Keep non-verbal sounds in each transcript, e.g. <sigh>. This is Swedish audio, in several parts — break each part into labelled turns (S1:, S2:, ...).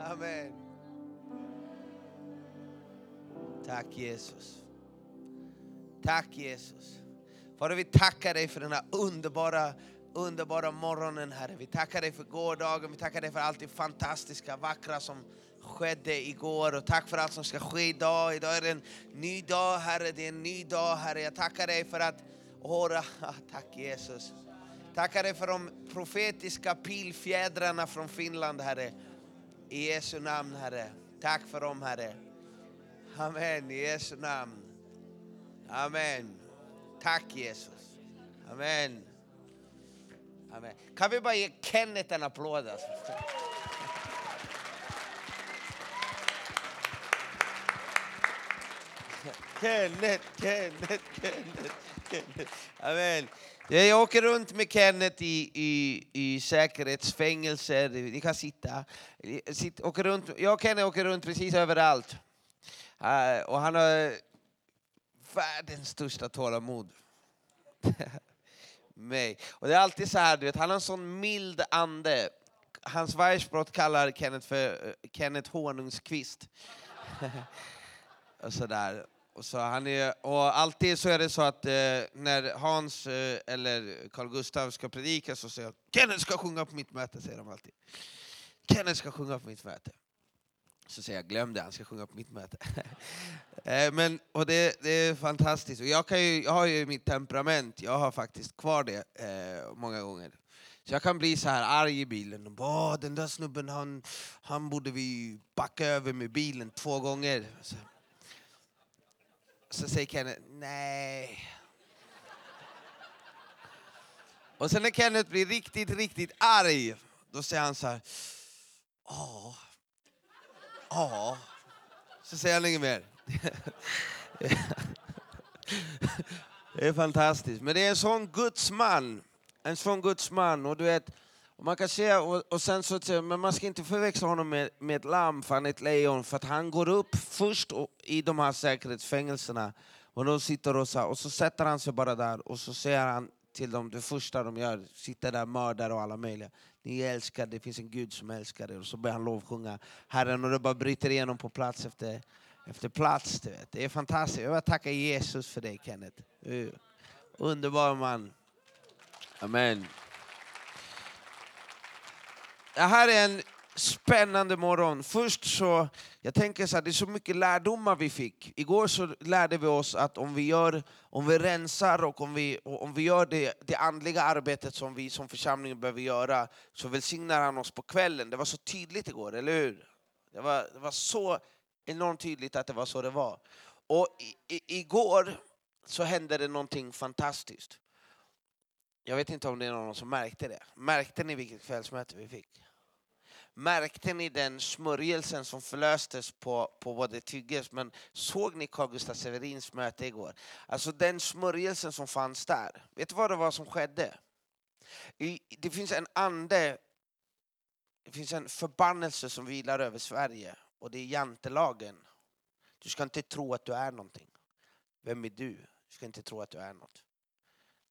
S1: Amén. Tack Jesus. Tack Jesus. Fader, vi tackar dig för den här underbara, underbara morgonen, Herre. Vi tackar dig för gårdagen, vi tackar dig för allt det fantastiska, vackra som skedde igår och tack för allt som ska ske idag. Idag är det en ny dag, Herre. Det är en ny dag, Herre. Jag tackar dig för att, åra, <laughs> Ah, tack Jesus. Tackar dig för de profetiska pilfjädrarna från Finland, Herre. I Jesu namn, Herre. Tack för dem, Herre. Amen, i Jesu namn. Amen. Tack Jesus. Amen. Amen. Kan vi bara ge Kenneth en applåd? Alltså? Kenneth, Kenneth, Kenneth, Kenneth. Amen. Jag åker runt med Kenneth i, i, i säkerhetsfängelser. Ni kan sitta. Sitt, åker runt. Jag och Kenneth åker runt precis överallt. Eh, och han har världens största tålamod. <laughs> Mig. Och det är alltid så här, du vet, han har en sån mild ande. Hans vargsbrott kallar Kenneth för eh, Kenneth Honungskvist. och sådär. Och så han är, och alltid så är det så att eh, när Hans eh, eller Carl Gustav ska predika så säger jag Kenneth ska sjunga på mitt möte, säger de alltid. Kenneth ska sjunga på mitt möte. Så säger jag glöm det, han ska sjunga på mitt möte. <laughs> Eh, Men, och det, det är fantastiskt. Och jag, kan ju, jag har ju mitt temperament, jag har faktiskt kvar det eh, många gånger. Så jag kan bli så här arg i bilen. Och bara, "Åh, den där snubben han, han borde vi backa över med bilen två gånger. Så, så säger Kenneth, nej. Och sen när Kenneth blir riktigt, riktigt arg, då säger han så här, ja, ja. Så säger han inget mer. Det är fantastiskt. Men det är en sån gudsman. En sån gudsman. Och du vet, och man kan se, och, och sen så, att säga, men man ska inte förväxla honom med, med ett lamm, för han är ett lejon. För att han går upp först och, i de här säkerhetsfängelserna. Och de sitter och så, här, och så sätter han sig bara där och så säger han till dem, det första de gör, sitter där mördare och alla möjliga. Ni är älskade, det finns en gud som älskar er. Och så börjar han lovsjunga Herren och det bara bryter igenom på plats efter, efter plats. Du vet. Det är fantastiskt. Jag vill tacka Jesus för dig Kenneth. Du är Underbar man. Amen. Det här är en spännande morgon. Först så, jag tänker så här, det är så mycket lärdomar vi fick. Igår så lärde vi oss att om vi, gör, om vi rensar och om vi, och om vi gör det, det andliga arbetet som vi som församling behöver göra så välsignar han oss på kvällen. Det var så tydligt igår, eller hur? Det var, det var så enormt tydligt att det var så det var. Och i, i, igår så hände det någonting fantastiskt. Jag vet inte om det är någon som märkte det. Märkte ni vilket kvällsmöte vi fick? Märkte ni den smörjelsen som förlöstes på, på både Tygges, men såg ni Carl Gustaf Severins möte igår? Alltså den smörjelsen som fanns där. Vet du vad det var som skedde? I, det finns en ande, det finns en förbannelse som vilar över Sverige och det är jantelagen. Du ska inte tro att du är någonting. Vem är du? Du ska inte tro att du är något.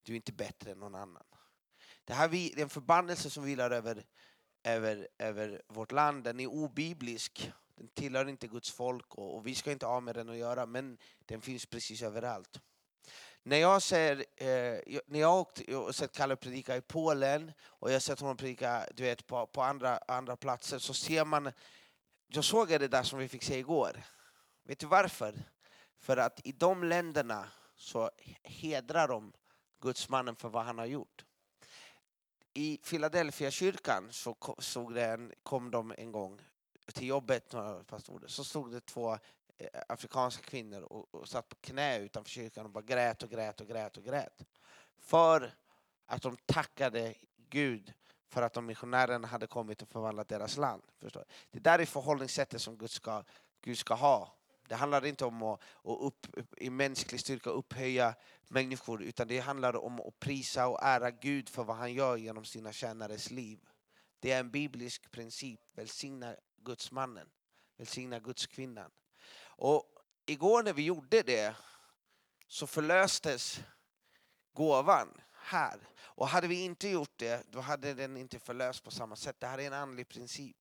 S1: Du är inte bättre än någon annan. Det här vi- det är en förbannelse som vilar över, över, över vårt land. Den är obiblisk. Den tillhör inte Guds folk och, och vi ska inte ha med den att göra men den finns precis överallt. När jag, ser, eh, jag- när jag har åkt, jag har sett Kalle predika i Polen och jag har sett honom predika du vet, på, på andra, andra platser så ser man... Jag såg det där som vi fick se igår. Vet du varför? För att i de länderna så hedrar de gudsmannen för vad han har gjort. I Philadelphia kyrkan så ko- såg det en, kom de en gång till jobbet, några pastorer, så stod det två eh, afrikanska kvinnor och, och satt på knä utanför kyrkan och bara grät och grät och grät och grät. För att de tackade Gud för att de missionärerna hade kommit och förvandlat deras land. Förstår? du? Det där är förhållningssättet som Gud ska, Gud ska ha. Det handlar inte om att, att upp, i mänsklig styrka upphöja människor utan det handlar om att prisa och ära Gud för vad han gör genom sina tjänares liv. Det är en biblisk princip. Välsigna gudsmannen. Välsigna gudskvinnan. Och igår när vi gjorde det så förlöstes gåvan här. Och hade vi inte gjort det, då hade den inte förlöst på samma sätt. Det här är en andlig princip.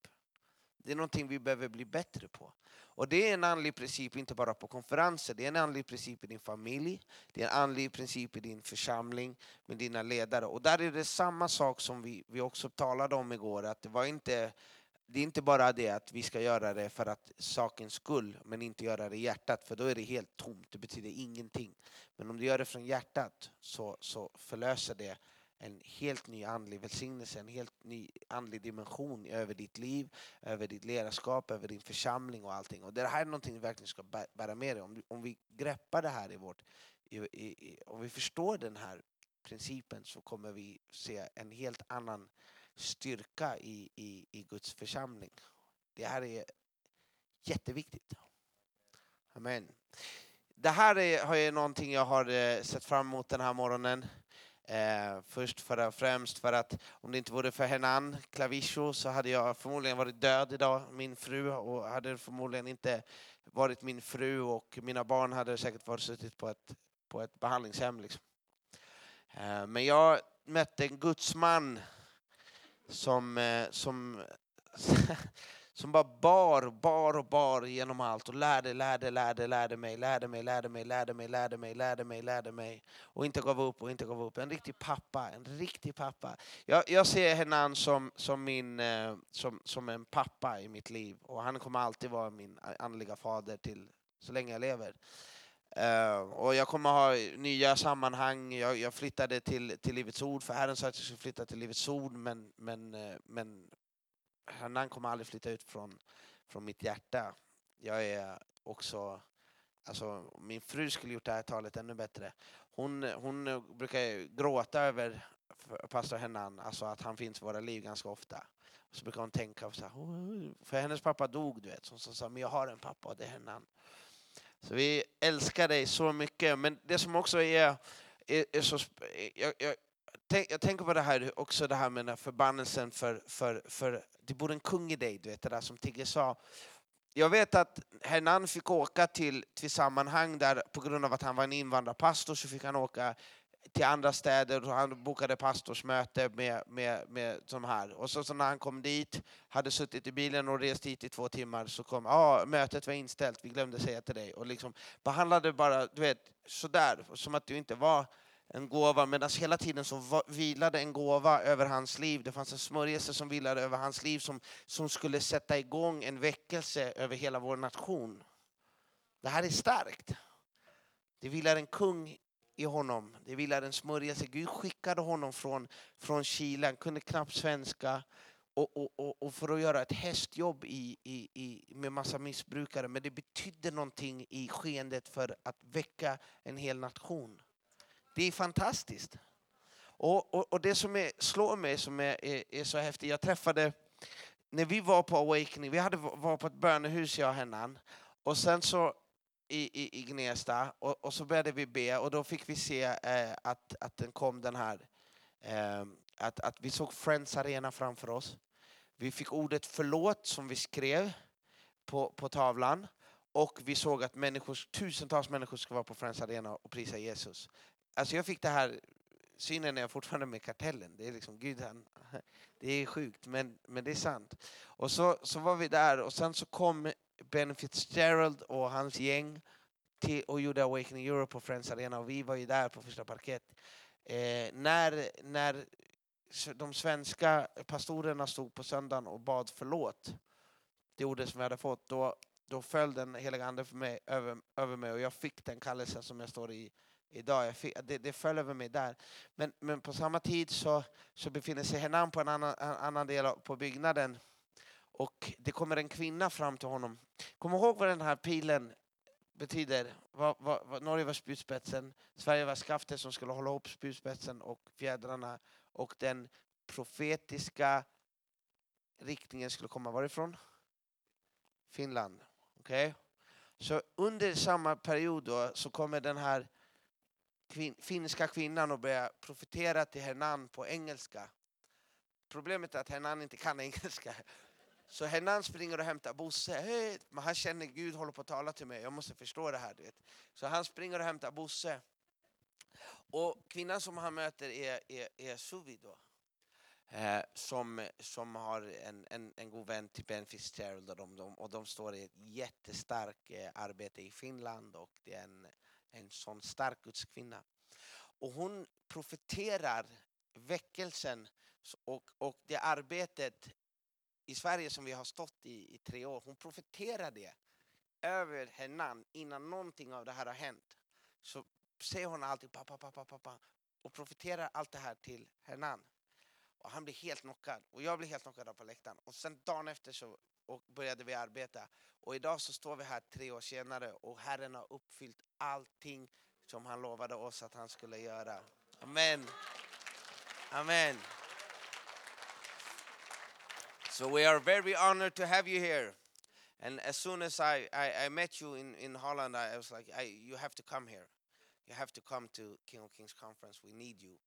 S1: Det är någonting vi behöver bli bättre på. Och det är en andlig princip, inte bara på konferenser, det är en andlig princip i din familj, det är en andlig princip i din församling med dina ledare. Och där är det samma sak som vi, vi också talade om igår, att det var inte det är inte bara det att vi ska göra det för att sakens skull, men inte göra det i hjärtat, för då är det helt tomt, det betyder ingenting. Men om du gör det från hjärtat så, så förlöser det en helt ny andlig välsignelse, en helt ny andlig dimension över ditt liv, över ditt ledarskap, över din församling och allting. Och det här är någonting du verkligen ska bä- bära med dig. Om, du- om vi greppar det här i vårt, i, i, i, om vi förstår den här principen så kommer vi se en helt annan styrka i, i, i Guds församling. Det här är jätteviktigt. Amen. Det här är, har ju någonting jag har eh, sett fram emot den här morgonen. Eh, först för, främst för att om det inte vore för Henan Clavicho så hade jag förmodligen varit död idag, min fru, och hade förmodligen inte varit min fru och mina barn hade säkert varit suttit på ett, på ett behandlingshem. Liksom. Eh, men jag mötte en gudsman som, eh, som, <laughs> som bara bar, bar och bar genom allt och lärde, lärde, lärde, lärde mig, lärde mig, lärde mig, lärde mig, lärde mig, lärde mig, lärde mig. Och inte gav upp och inte gav upp. En riktig pappa, en riktig pappa. Jag, jag ser Henan som, som, min, eh, som, som en pappa i mitt liv och han kommer alltid vara min andliga fader till så länge jag lever. Eh, och jag kommer ha nya sammanhang. Jag, jag flyttade till, till Livets Ord, för Herren sa att jag skulle flytta till Livets Ord, men, men, eh, men Hernan kommer aldrig flytta ut från, från mitt hjärta. Jag är också... Alltså, min fru skulle gjort det här talet ännu bättre. Hon, hon eh, brukar ju gråta över f- pastor Hernan, alltså att han finns i våra liv ganska ofta. Så brukar hon tänka, så här, "Oj." för hennes pappa dog, du vet. Så hon sa, men jag har en pappa och det är Hernan. Så vi älskar dig så mycket. Men det som också är, är, är så... sp- Jag, jag, tänk, jag tänker på det här också det här med den här förbannelsen för, för, för... Det bor en kung i dig, du vet det där som Tigge sa. Jag vet att Hernan fick åka till, till sammanhang där på grund av att han var en invandrarpastor så fick han åka till andra städer och han bokade pastorsmöte med, med, med de här. Och så, så när han kom dit, hade suttit i bilen och rest hit i två timmar så kom, ja ah, mötet var inställt, vi glömde säga till dig. Och liksom behandlade bara, du vet, sådär, som att du inte var en gåva, medan hela tiden så va- vilade en gåva över hans liv. Det fanns en smörjelse som vilade över hans liv som, som skulle sätta igång en väckelse över hela vår nation. Det här är starkt. Det vilar en kung i honom. Det vilar en smörjelse. Gud skickade honom från, från Chile. Han kunde knappt svenska. Och, och, och, och för att göra ett hästjobb i, i, i, med massa missbrukare. Men det betydde någonting i skeendet för att väcka en hel nation. Det är fantastiskt. Och, och, och det som är, slår mig som är, är, är så häftigt, jag träffade, när vi var på Awakening, vi hade var på ett bönehus jag och Hennan, och sen så i, i, i Gnesta, och, och så började vi be och då fick vi se eh, att, att den kom den här, eh, att, att vi såg Friends Arena framför oss. Vi fick ordet förlåt som vi skrev på, på tavlan och vi såg att människor, tusentals människor ska vara på Friends Arena och prisa Jesus alltså jag fick det här synen när jag fortfarande med kartellen. Det är liksom, gud han, det är sjukt men, men det är sant. Och så, så var vi där och sen så kom Ben Fitzgerald och hans gäng till, och gjorde Awakening Europe på Friends Arena och vi var ju där på första parkett. Eh, när, när s- de svenska pastorerna stod på söndagen och bad förlåt det ordet som jag hade fått, då, då föll den heliga anden för mig, över, över mig och jag fick den kallelsen som jag står i idag. Jag fick, det, det föll över mig där. Men, men på samma tid så, så befinner sig Henan på en annan, en annan del av, på byggnaden och det kommer en kvinna fram till honom. Kom ihåg vad den här pilen betyder. Vad, vad, vad, Norge var spjutspetsen, Sverige var skaftet som skulle hålla ihop spjutspetsen och fjädrarna och den profetiska riktningen skulle komma varifrån? Finland. Okej? Så under samma period då, så kommer den här kvin finska kvinnan och börja profetera till Hernan på engelska. Problemet är att Hernan inte kan <laughs> engelska. Så Hernan springer och hämtar Bosse. Hej! Men han känner Gud håller på att tala till mig. Jag måste förstå det här. Du vet. Så han springer och hämtar Bosse. Och kvinnan som han möter är, är, är Suvi då. eh, som, som har en, en, en god vän till Ben Fitzgerald och de, de, och de står i ett jättestarkt eh, arbete i Finland och det är en, en sån stark gudskvinna. Och hon profeterar väckelsen s- och, och det arbetet i Sverige som vi har stått i i tre år, hon profeterar det över Henan innan någonting av det här har hänt. Så säger hon alltid pappa, pappa, pappa och profeterar allt det här till Henan. Och han blir helt knockad och jag blir helt knockad av på läktaren. Och sen dagen efter så och började vi arbeta. Och idag så står vi här tre år senare och Herren har uppfyllt allting som han lovade oss att han skulle göra. Amen. Amen. So we are very honored to have you here. And as soon as I, I, I met you in, in Holland, I, I was like, I, you have to come here. You have to come to King of Kings conference. We need you.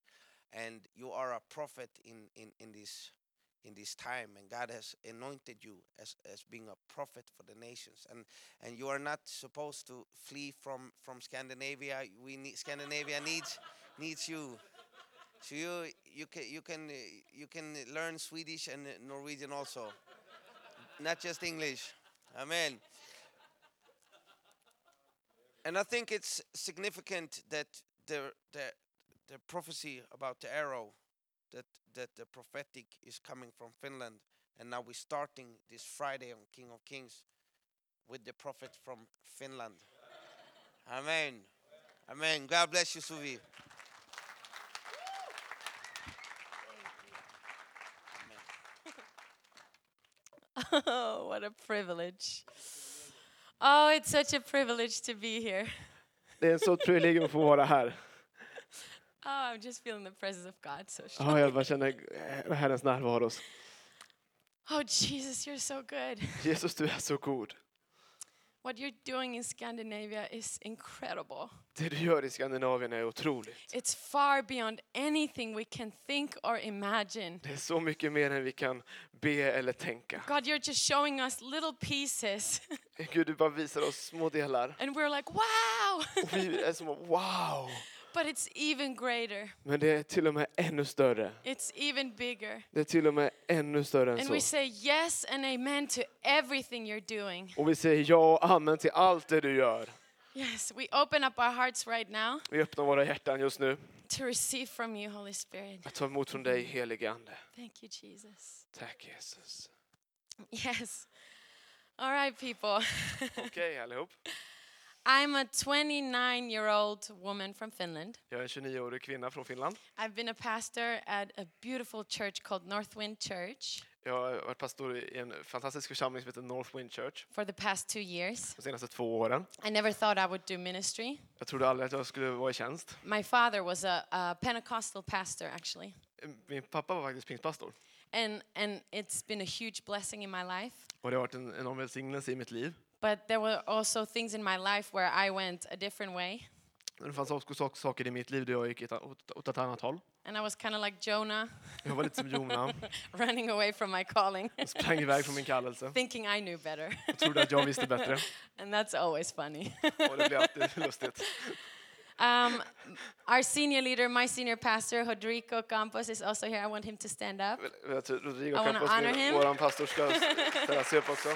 S1: And you are a prophet in, in, in this in this time and God has anointed you as, as being a prophet for the nations and and you are not supposed to flee from from Scandinavia we need Scandinavia needs needs you so you you can you can uh, you can learn Swedish and uh, Norwegian also, not just English. Amen. And I think it's significant that the the the prophecy about the arrow, that that the prophetic is coming from Finland, and now we're starting this Friday on King of Kings with the prophet from Finland. Amen. Amen. God bless you, Suvi.
S2: Oh, <laughs> what a privilege. Oh, it's such a privilege to be here. <laughs>
S3: Det är så otroligt att få vara här.
S2: Oh, I'm just feeling the presence of God so strong.
S3: Ja, jag bara känner eh, Herrens närvaro.
S2: Oh, Jesus, you're so good. <laughs>
S3: Jesus, du är så god.
S2: What you're doing in Scandinavia is incredible.
S3: Det du gör i Skandinavien är otroligt.
S2: It's far beyond anything we can think or imagine.
S3: Det är så mycket mer än vi kan be eller tänka.
S2: God, you're just showing us little pieces, <laughs>
S3: Gud, du bara visar oss små delar.
S2: and we're like, wow!
S3: Och vi är som wow!
S2: <laughs> but it's even greater,
S3: Men det är till och med ännu större.
S2: it's even bigger.
S3: Det är till och med ännu större
S2: And
S3: än
S2: we
S3: så.
S2: say yes and amen to everything you're doing.
S3: Och vi säger ja och amen till allt det du gör.
S2: Yes, we open up our hearts right now
S3: Vi öppnar våra hjärtan just nu
S2: to receive from you, Holy Spirit.
S3: att ta emot från dig, helige Ande.
S2: Thank you, Jesus. <laughs>
S3: Tack Jesus.
S2: Yes. All right, people.
S3: Okej allihop.
S2: <laughs> I'm a 29 year old woman from Finland.
S3: Jag är en 29-årig kvinna från Finland.
S2: I've been a pastor at a beautiful church called Northwind Church
S3: Jag har varit pastor i en fantastisk församling som heter North Wind Church
S2: for the past two years.
S3: de senaste två åren.
S2: I never thought I would do ministry.
S3: Jag trodde aldrig att jag skulle vara i tjänst.
S2: My father was a, a Pentecostal pastor, actually.
S3: Min pappa var faktiskt pingstpastor
S2: And, and it's been a huge blessing in my life.
S3: och det har varit en enorm välsignelse i mitt liv.
S2: But there were also things in my life where I went a different way.
S3: Men Det fanns också sak- saker i mitt liv där jag gick ett- åt åt ett annat håll.
S2: And I was kind of like Jonah,
S3: Jag var lite som Jona,
S2: <laughs> running away from my calling,
S3: jag sprang iväg från min kallelse
S2: <laughs> thinking I knew better.
S3: och trodde att
S2: <laughs>
S3: jag visste bättre.
S2: and that's always funny.
S3: Och det blev alltid <laughs> lustigt.
S2: <laughs> um, our senior leader, my senior pastor, Rodrigo Campos, is also here. I want him to stand up.
S3: Jag tror Rodrigo
S2: wanna
S3: Campos,
S2: honor
S3: min-
S2: him.
S3: vår pastor, ska ställa sig upp också.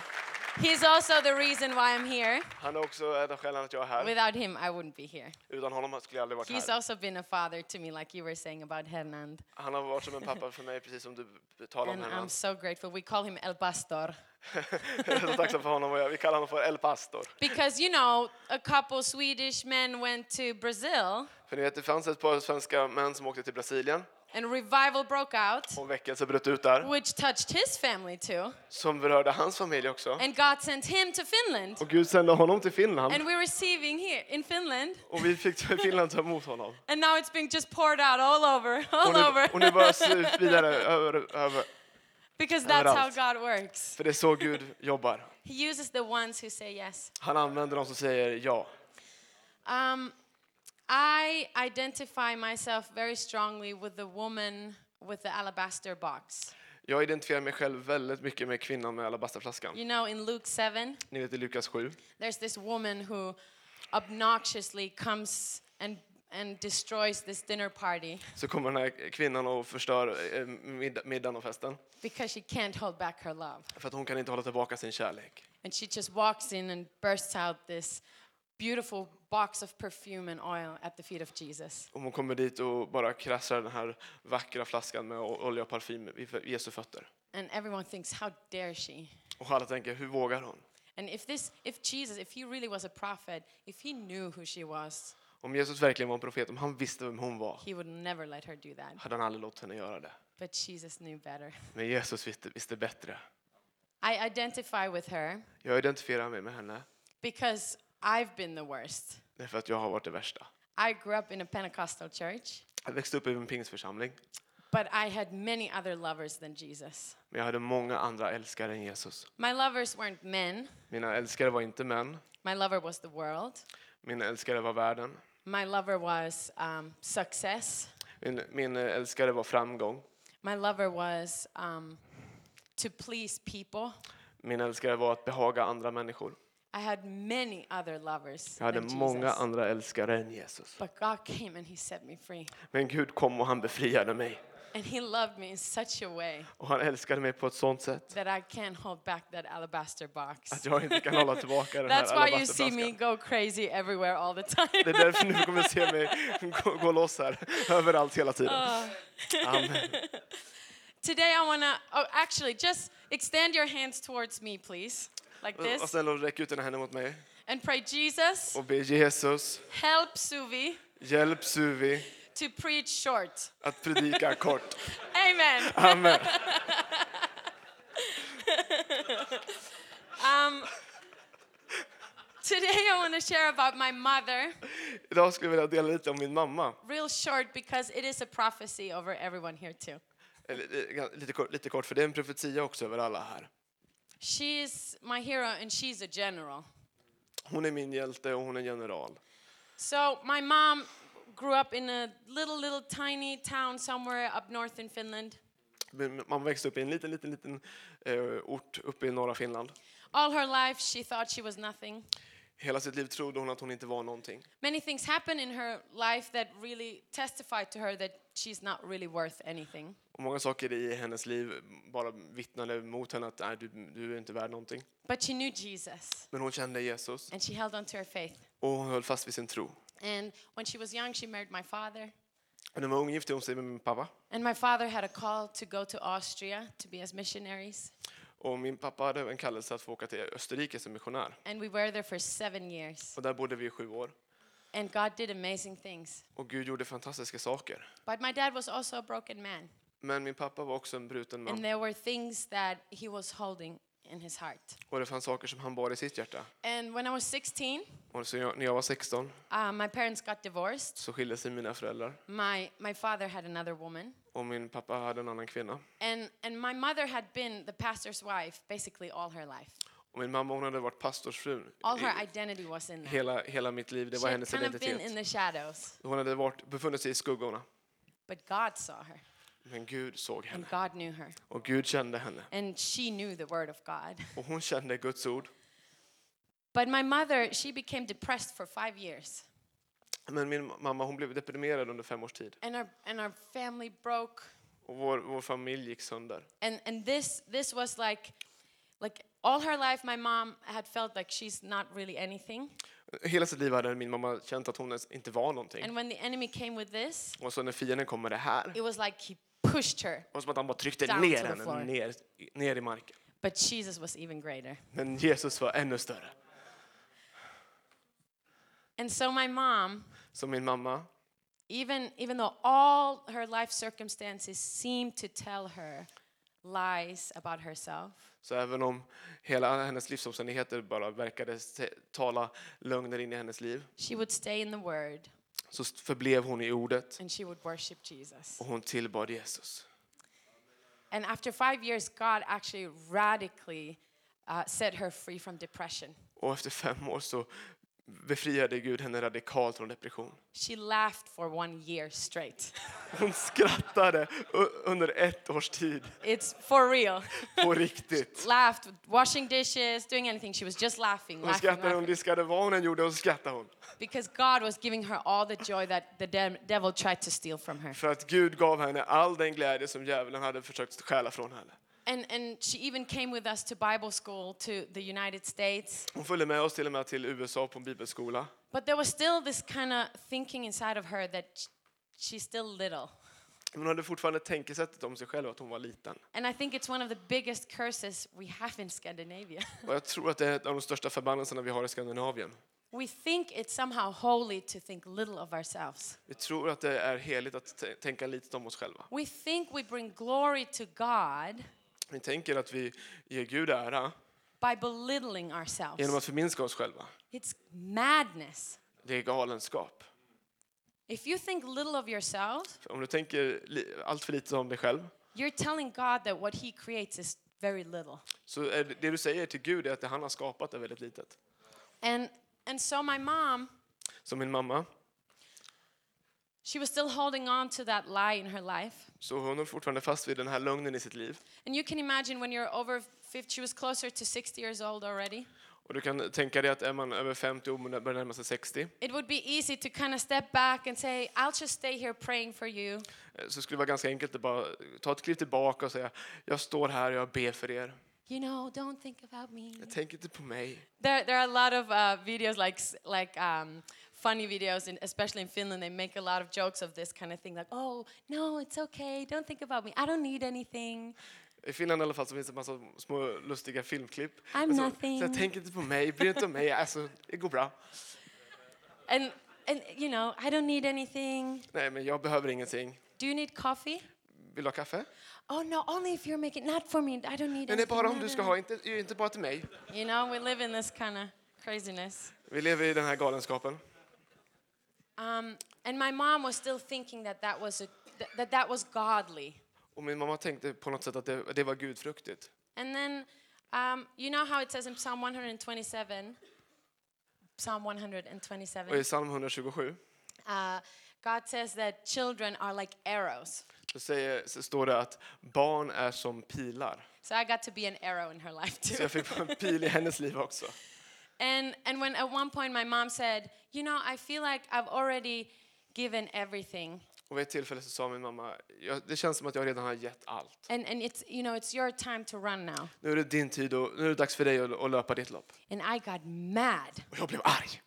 S2: He's also the reason why I'm here.
S3: Han är också en av skälen att jag är här.
S2: Without him, I wouldn't be here.
S3: Utan honom skulle jag aldrig varit
S2: He's
S3: här.
S2: also been a father to me, like you were saying about Hernand.
S3: Han har varit som en pappa för mig, precis som du talade om
S2: And
S3: henne.
S2: I'm so grateful. We call him El Pastor.
S3: Jag är så tacksam för honom och jag, vi kallar honom för El Pastor.
S2: Because, you know, a couple Swedish men went to Brazil
S3: För ni vet, det fanns ett par svenska män som åkte till Brasilien
S2: and revival broke out.
S3: och en väckelse bröt ut där
S2: which touched his family too.
S3: som berörde hans familj också.
S2: And God sent him to Finland.
S3: Och Gud sände honom till Finland
S2: And we're receiving here in Finland.
S3: och vi fick till Finland ta emot honom.
S2: And now it's being just poured out all over, <laughs> all
S3: Och nu, och nu
S2: over.
S3: börjar det se ut vidare över, över.
S2: because that's how
S3: överallt.
S2: God works.
S3: För det är så Gud jobbar.
S2: He uses the ones who say yes.
S3: Han använder dem som säger ja.
S2: Um, I identify myself very strongly with the woman with the alabaster box.
S3: Jag identifierar mig själv väldigt mycket med kvinnan med alabasterflaskan.
S2: You know, in Luke 7,
S3: Ni vet i Lukas 7.
S2: there's this woman who obnoxiously comes and and destroys this dinner party
S3: Så kommer den här kvinnan och förstör eh, middag- middagen och festen.
S2: because she can't hold back her love.
S3: För att hon kan inte hålla tillbaka sin kärlek.
S2: And she just walks in and bursts out this beautiful box of perfume and oil at the feet of Jesus.
S3: Om hon kommer dit och bara krassar den här vackra flaskan med o- olja och parfym vid f- Jesu fötter.
S2: And everyone thinks, how dare she?
S3: Och alla tänker, hur vågar hon?
S2: And if this, if Jesus, if he really was a prophet, if he knew who she was,
S3: Om Jesus verkligen var en profet, om han visste vem hon var,
S2: he would never let her do that.
S3: hade han aldrig låtit henne göra det.
S2: But Jesus knew better.
S3: Men Jesus visste, visste bättre.
S2: I identify with her
S3: Jag identifierar mig med henne
S2: because I've been the worst.
S3: därför att jag har varit det värsta.
S2: I grew up in a Pentecostal church,
S3: Jag växte upp i en pingsförsamling,
S2: but I had many other lovers than Jesus.
S3: men jag hade många andra älskare än Jesus.
S2: My lovers weren't men,
S3: Mina älskare var inte män,
S2: my lover was the world,
S3: mina älskare var världen,
S2: my lover was um, success,
S3: min, min älskare var framgång,
S2: my lover was um, to please people.
S3: min älskare var att behaga andra människor.
S2: I had many other lovers
S3: Jag hade
S2: than
S3: många
S2: Jesus.
S3: andra älskare än Jesus.
S2: But God came and He set me free.
S3: Men Gud kom och han befriade mig.
S2: And He loved me in such a way
S3: Och han älskade mig på ett sånt sätt
S2: that I can't hold back that alabaster
S3: att
S2: box.
S3: jag inte kan hålla tillbaka den här
S2: That's why you see me
S3: alabasterflaskan.
S2: go crazy everywhere all the <laughs>
S3: Det är
S2: time.
S3: därför nu kommer se mig gå, gå loss här, överallt hela
S2: Ah,
S3: tiden. Amen.
S2: Today I want to, oh, actually, just extend your hands towards me, please, like
S3: Och- Och
S2: this,
S3: snälla räck ut dina händer mot mig
S2: and pray, Jesus,
S3: och be Jesus,
S2: help Suvi
S3: hjälp Suvi
S2: to preach short.
S3: att predika kort.
S2: Amen.
S3: Amen.
S2: Um, today I want to share about my mother,
S3: Idag skulle jag vilja dela lite om min mamma.
S2: real short, because it is a prophecy over everyone here, too.
S3: Eller, eh, Lite kort, lite kort, för det är en profetia också över alla här.
S2: She's my hero and she's a general.
S3: Hon är min hjälte och hon är general.
S2: So my mom grew up in a little, little tiny town somewhere up north in Finland.
S3: Min mamma växte upp i en liten, liten, liten eh, ort uppe i norra Finland.
S2: All her life, she thought she was nothing.
S3: Hela sitt liv trodde hon att hon inte var någonting.
S2: Many things happen in her life that really testify to her that she's not really worth anything.
S3: Och många saker i hennes liv bara vittnade mot henne att Nej, du, du är inte värd någonting.
S2: But she knew Jesus
S3: Men hon kände Jesus
S2: and she held on to her faith.
S3: och hon höll fast vid sin tro.
S2: And when she was young, she married my father.
S3: Och när hon var ung gifte hon sig med min pappa.
S2: And my father had a call to go to Austria to be as missionaries.
S3: Och min pappa hade en kallelse att få åka till Österrike som missionär.
S2: And we were there for seven years.
S3: Och där bodde vi i sju år.
S2: And God did amazing things.
S3: Och Gud gjorde fantastiska saker.
S2: But my dad was also a broken man.
S3: Men min pappa var också en bruten
S2: And
S3: man.
S2: there were things that he was holding in his heart.
S3: Och det fanns saker som han bar i sitt hjärta.
S2: And when I was 16,
S3: Och så jag, när jag var 16
S2: uh, my parents got divorced.
S3: så skilde sig mina föräldrar.
S2: My, my father had another woman.
S3: Och min pappa hade en annan kvinna.
S2: And, and my mother had been the pastor's wife basically all her life.
S3: Och min mamma hon hade varit pastorsfru.
S2: All her
S3: I,
S2: identity was in that.
S3: hela, hela mitt liv, det
S2: She
S3: var
S2: had
S3: hennes
S2: kind of been in
S3: identitet.
S2: the shadows.
S3: Hon hade varit, befunnit sig i skuggorna.
S2: But God saw her,
S3: Men Gud såg henne.
S2: and God knew her.
S3: Och Gud kände henne.
S2: And she knew the word of God.
S3: Och hon kände Guds ord.
S2: But my mother, she became depressed for five years.
S3: Men min mamma hon blev deprimerad under fem års tid.
S2: And our, and our family broke.
S3: Och vår, vår familj gick sönder.
S2: and and this this was like like all her life my mom had felt like she's not really anything
S3: Hela sitt liv hade min mamma känt att hon ens inte var någonting.
S2: and when the enemy came with this
S3: Och så när fienden kom med det här,
S2: it was like he pushed her
S3: och som att han bara tryckte
S2: Down to
S3: ner
S2: the floor.
S3: henne ner, ner i marken.
S2: but jesus was even greater
S3: Men Jesus var ännu större.
S2: and so my mom
S3: Så min mamma,
S2: even even though all her life circumstances seemed to tell her lies about herself
S3: så även om hela hennes livsomständigheter bara verkade se- tala lögner in i hennes liv,
S2: she would stay in the word
S3: så st- förblev hon i ordet
S2: and she would worship jesus
S3: och hon tillbad Jesus.
S2: and after 5 years god actually radically uh, set her free from depression
S3: Och efter fem år så befriade Gud henne radikalt från depression.
S2: She laughed for one year
S3: <laughs>
S2: straight.
S3: Hon skrattade u- under ett års tid,
S2: It's for real.
S3: på
S2: <laughs>
S3: riktigt.
S2: laughed, washing dishes, doing anything. She was just laughing,
S3: Hon
S2: laughing,
S3: skrattade, hon
S2: laughing.
S3: diskade, vad hon än gjorde, hon skrattade hon.
S2: Because God was giving her all the joy that the de- devil tried to steal from her.
S3: För att Gud gav henne all den glädje som djävulen hade försökt stjäla från henne.
S2: And, and she even came with us to Bible school to the United States.
S3: Hon följde med oss till och med till USA på en bibelskola.
S2: But there was still this kind of thinking inside of her that sh- she's still little.
S3: Men hon hade fortfarande tänkesättet om sig själv att hon var liten.
S2: And I think it's one of the biggest curses we have in Scandinavia. <laughs>
S3: Och jag tror att det är ett av de största förbannelserna vi har i Skandinavien.
S2: we think it's somehow holy to think little of ourselves.
S3: Vi tror att det är heligt att t- tänka litet om oss själva.
S2: We think we bring glory to God
S3: Vi tänker att vi ger Gud ära
S2: by belittling ourselves.
S3: genom att förminska oss själva.
S2: It's madness.
S3: Det är galenskap.
S2: If you think little of yourself,
S3: För om du tänker li- allt för lite om dig själv
S2: you're telling God that what He creates is very little.
S3: så är det, det du säger till Gud är att det han har skapat är väldigt litet.
S2: And and so my mom,
S3: Som min mamma,
S2: she was still holding on to that lie in her life.
S3: så hon är fortfarande fast vid den här lögnen i sitt liv.
S2: And you can imagine when you're over 50, she was closer to 60 years old already.
S3: Och du kan tänka dig att är man över 50 och börjar närma sig 60
S2: It would be easy to kind of step back and say, I'll just stay here praying for you.
S3: eh, så skulle det vara ganska enkelt att bara ta ett kliv tillbaka och säga jag står här och jag ber för er.
S2: You know, don't think about me.
S3: Jag tänker inte på mig.
S2: There, there are a lot of uh, videos like s- like um, funny videos, in, especially in Finland. They make a lot of jokes of this kind of thing, like, "Oh, no, it's okay. Don't think about me. I don't need anything."
S3: I Finland i alla fall så finns det en massa små lustiga filmklipp.
S2: I'm
S3: Och så,
S2: nothing.
S3: Så jag tänker inte på mig, bryr inte om mig, alltså det går bra.
S2: And and you know, I don't need anything.
S3: Nej men jag behöver ingenting.
S2: Do you need coffee?
S3: Vill du ha kaffe?
S2: Oh no, only if you're making not for me. I don't need
S3: Men det är
S2: anything.
S3: bara om
S2: No,
S3: du
S2: no,
S3: ska
S2: no."
S3: ha, inte, inte bara till mig.
S2: You know, we live in this kind of craziness.
S3: Vi lever i den här galenskapen.
S2: Um, and my mom was still thinking that that was a, th- that that was godly.
S3: Och min mamma tänkte på något sätt att det, det var gudfruktigt.
S2: And then, um, you know how it says in Psalm 127, Psalm
S3: Och i
S2: 127,
S3: psalm 127
S2: uh, God says that children are like arrows.
S3: så, säger, så står det att barn är som pilar.
S2: So I got to be an arrow in her life
S3: Så
S2: too.
S3: jag fick en pil i hennes liv också.
S2: and and when at one point my mom said, you know, I feel like I've already given everything,
S3: Och vid ett tillfälle så sa min mamma, jag, det känns som att jag redan har gett allt.
S2: and and it's you know it's your time to run now.
S3: Nu är det din tid och nu är det dags för dig att, att löpa ditt lopp.
S2: And I got mad.
S3: Och jag blev arg.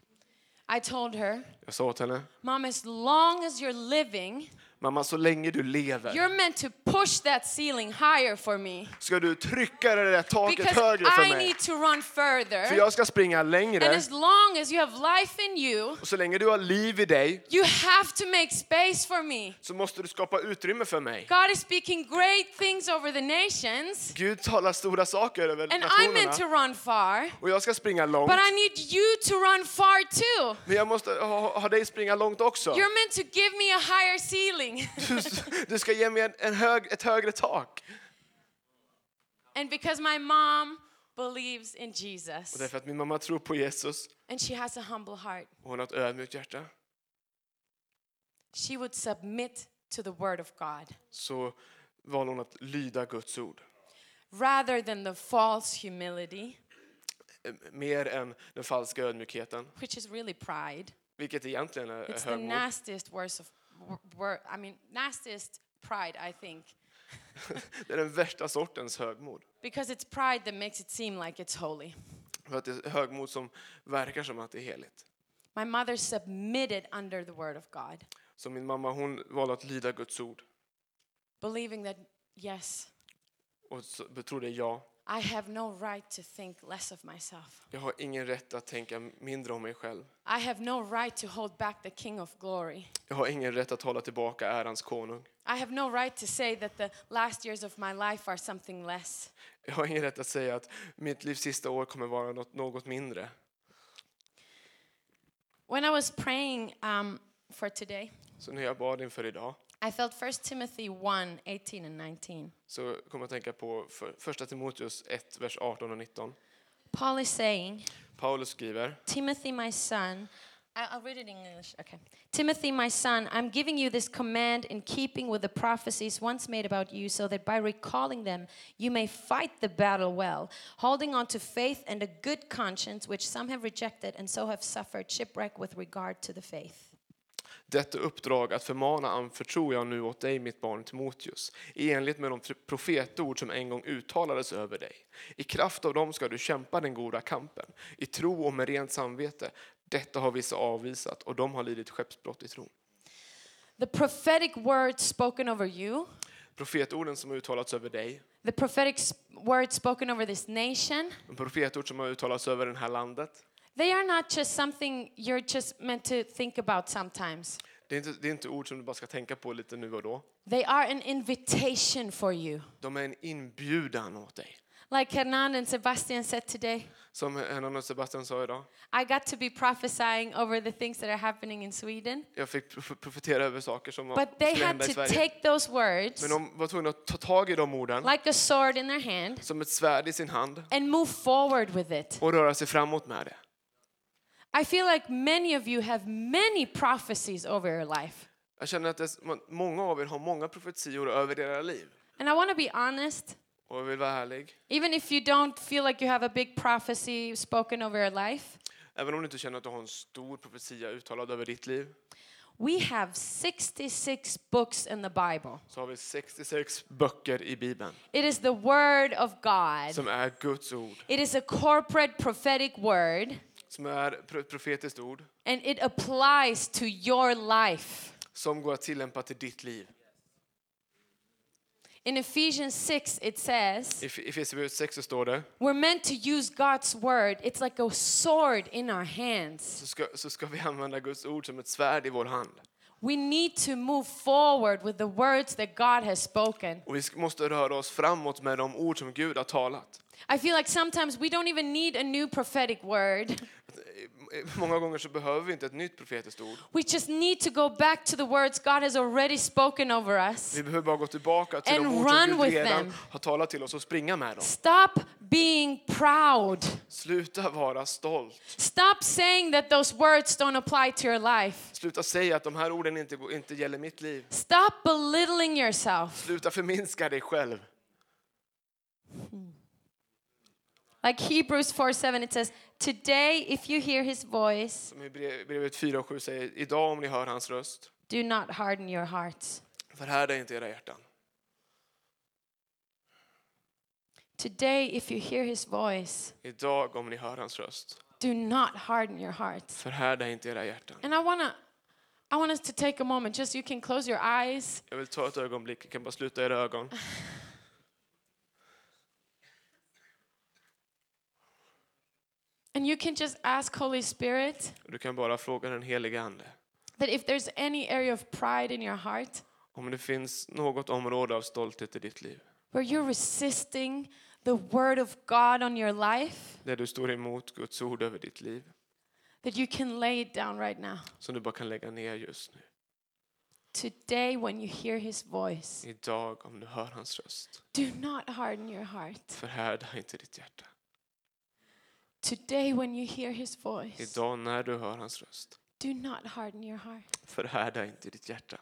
S2: I told her,
S3: Jag sa åt henne,
S2: mom, as long as you're living,
S3: mamma så länge du lever
S2: you're meant to push that ceiling higher for me.
S3: ska du trycka det där taket
S2: Because
S3: högre för
S2: I
S3: mig.
S2: need to run further.
S3: För jag ska springa
S2: And
S3: längre.
S2: as long as you have life in you,
S3: Och så länge du har liv i dig
S2: you have to make space for me.
S3: så måste du skapa utrymme för mig.
S2: God is speaking great things over the nations,
S3: Gud talar stora saker över
S2: and I'm meant to
S3: nationerna.
S2: run far,
S3: Och jag ska springa långt.
S2: but I need you to run far too.
S3: Men jag måste ha, ha dig springa långt också.
S2: You're meant to give me a higher ceiling. <laughs>
S3: Du, du ska ge mig en, en hög, ett högre tak.
S2: and because my mom believes in
S3: Och
S2: Jesus,
S3: det är för att min mamma tror på Jesus
S2: and she has a humble heart,
S3: och hon har ett ödmjukt hjärta.
S2: she would submit to the word of God
S3: Så valde hon att lyda Guds ord.
S2: rather than the false humility,
S3: Eh, Mer än den falska ödmjukheten,
S2: which is really pride.
S3: vilket egentligen är
S2: It's
S3: är
S2: the
S3: högmod.
S2: nastiest worst of wor- wor- I mean nastiest pride I think
S3: Det är den värsta sortens högmod.
S2: because it's pride that makes it seem like it's holy.
S3: För att det är högmod som verkar som att det är heligt.
S2: My mother submitted under the word of God,
S3: Så min mamma hon valde att lyda Guds ord
S2: believing that yes,
S3: och så betrodde jag.
S2: I have no right to think less of myself.
S3: Jag har ingen rätt att tänka mindre om mig själv.
S2: I have no right to hold back the king of glory.
S3: Jag har ingen rätt att hålla tillbaka ärans konung.
S2: I have no right to say that the last years of my life are something less.
S3: Jag har ingen rätt att säga att mitt livs sista år kommer vara något, något mindre.
S2: When I was praying um, for today,
S3: Så när jag bad inför idag
S2: I felt 1 Timothy 1 18 and 19.
S3: så kom jag att tänka på för, första Timoteus 1, vers 18 och 19.
S2: Paul is saying,
S3: Paulus skriver,
S2: Timothy, my son, I- I'll read it in English. Okay. Timothy, my son, I'm giving you this command in keeping with the prophecies once made about you, so that by recalling them, you may fight the battle well, holding on to faith and a good conscience, which some have rejected and so have suffered shipwreck with regard to the faith.
S3: Detta uppdrag att förmana anförtror jag nu åt dig, mitt barn Timoteus, i enlighet med de profetord som en gång uttalades över dig. I kraft av dem ska du kämpa den goda kampen, i tro och med rent samvete. Detta har vissa avvisat, och de har lidit skeppsbrott i tron.
S2: The prophetic word spoken over you,
S3: Profetorden som har uttalats över dig,
S2: the prophetic s- word spoken over this nation,
S3: de profetord som har uttalats över det här landet,
S2: they are not just something you're just meant to think about sometimes.
S3: det är, inte, det är inte ord som du bara ska tänka på lite nu och då.
S2: They are an invitation for you.
S3: De är en inbjudan åt dig.
S2: Like Hernan and Sebastian said today,
S3: Som Hernan och Sebastian sa idag,
S2: I got to be prophesying over the things that are happening in Sweden.
S3: jag fick prof- profetera över saker som var-
S2: But they
S3: skulle
S2: had
S3: hända i
S2: to
S3: Sverige.
S2: take those words
S3: Men de var tvungna att ta tag i de orden
S2: like a sword in their hand
S3: som ett svärd i sin hand
S2: and move forward with it.
S3: och röra sig framåt med det.
S2: I feel like many of you have many prophecies over your life.
S3: Jag känner att det, är som att många av er har många profetior över era liv.
S2: And I want to be honest,
S3: Och jag vill vara ärlig,
S2: even if you don't feel like you have a big prophecy spoken over your life,
S3: även om du inte känner att du har en stor profetia uttalad över ditt liv,
S2: we have 66 books in the Bible.
S3: så har vi 66 böcker i Bibeln
S2: It is the Word of God.
S3: som är Guds ord,
S2: It is a corporate prophetic word
S3: som är pro- profetiskt ord,
S2: and it applies to your life.
S3: som går att tillämpa till ditt liv.
S2: In Ephesians 6, it says,
S3: I F- i Efesierbrevet 6 så står det,
S2: We're meant to use God's word. It's like a sword in our hands.
S3: så ska, så ska vi använda Guds ord som ett svärd i vår hand.
S2: We need to move forward with the words that God has spoken.
S3: Och vi sk- måste röra oss framåt med de ord som Gud har talat.
S2: I feel like sometimes we don't even need a new prophetic word.
S3: eh, Många gånger så behöver vi inte ett nytt profetiskt ord.
S2: We just need to go back to the words God has already spoken over us.
S3: Vi behöver bara gå tillbaka till
S2: And
S3: de ord
S2: run
S3: som Gud
S2: with
S3: redan
S2: them.
S3: har talat till oss och springa med dem.
S2: Stop being proud.
S3: Sluta vara stolt.
S2: Stop saying that those words don't apply to your life.
S3: Sluta säga att de här orden inte, går- inte gäller mitt liv.
S2: Stop belittling yourself.
S3: Sluta förminska dig själv.
S2: Like Hebrews 4 7, it says, Today, if you hear his voice,
S3: Som Hebreerbrevet 4 och 7 säger, idag om ni hör hans röst,
S2: do not harden your hearts.
S3: förhärda inte era hjärtan.
S2: Today, if you hear his voice,
S3: Idag om ni hör hans röst,
S2: do not harden your hearts.
S3: förhärda inte era hjärtan.
S2: And I want to. I want us to take a moment, just you can close your eyes.
S3: Jag vill ta ett ögonblick, jag kan bara sluta era ögon.
S2: And you can just ask Holy Spirit
S3: Du kan bara fråga den helige Ande.
S2: that if there's any area of pride in your heart
S3: Om det finns något område av stolthet i ditt liv,
S2: where you're resisting the word of God on your life,
S3: där du står emot Guds ord över ditt liv,
S2: that you can lay it down right now.
S3: som du bara kan lägga ner just nu.
S2: Today, when you hear his voice,
S3: Idag om du hör hans röst,
S2: do not harden your heart.
S3: förhärda inte ditt hjärta.
S2: Today, when you hear his voice,
S3: Idag när du hör hans röst,
S2: do not harden your heart.
S3: förhärda inte ditt hjärta.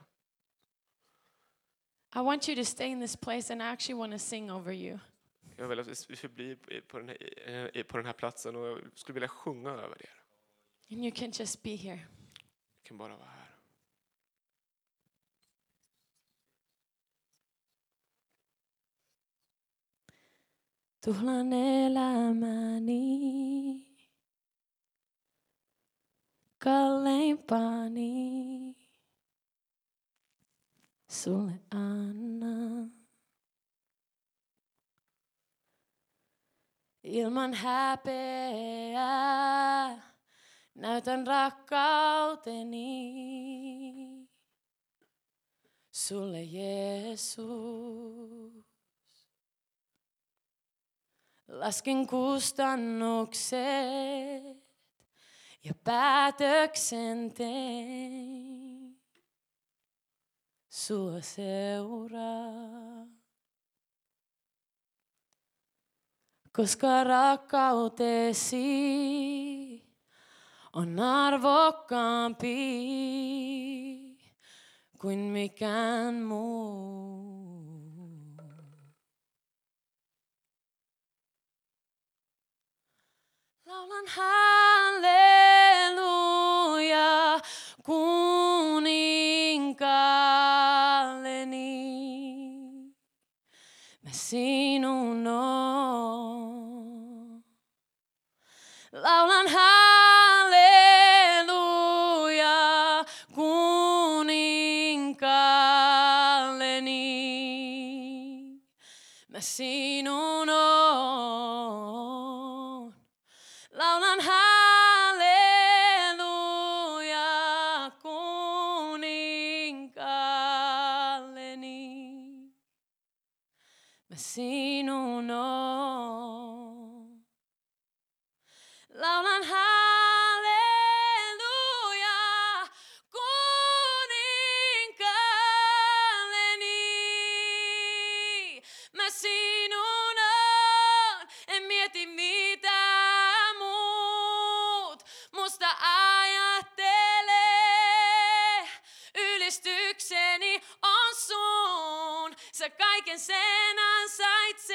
S2: I want you to stay in this place and I actually want to sing over you.
S3: Jag vill att vi förblir på- på den här, eh, på den här platsen och jag skulle vilja sjunga över er.
S2: And you can just be here.
S3: Jag kan bara vara här.
S2: Tuhlanne elämäni, kalleimpani, sulle annan. Ilman häpeää näytän rakkauteni sulle Jeesus. Lasken kustannukset ja päätöksen tein. Sua seuraa. koska rakkautesi on arvokkaampi kuin mikään muu. Laulan halleluja kuninkaalleni. Mä sinun oon. Laulan halleluja kuninkaalleni. Mä sinun oon. Laulan halleluja kuninkaalleni. Mä sinun oon. Laulan halleluja kuninkaalleni. Mä sinun oon, en mieti mitään muut. Musta ajattelee, ylistykseni on sun. Sä kaiken sen ansaitset,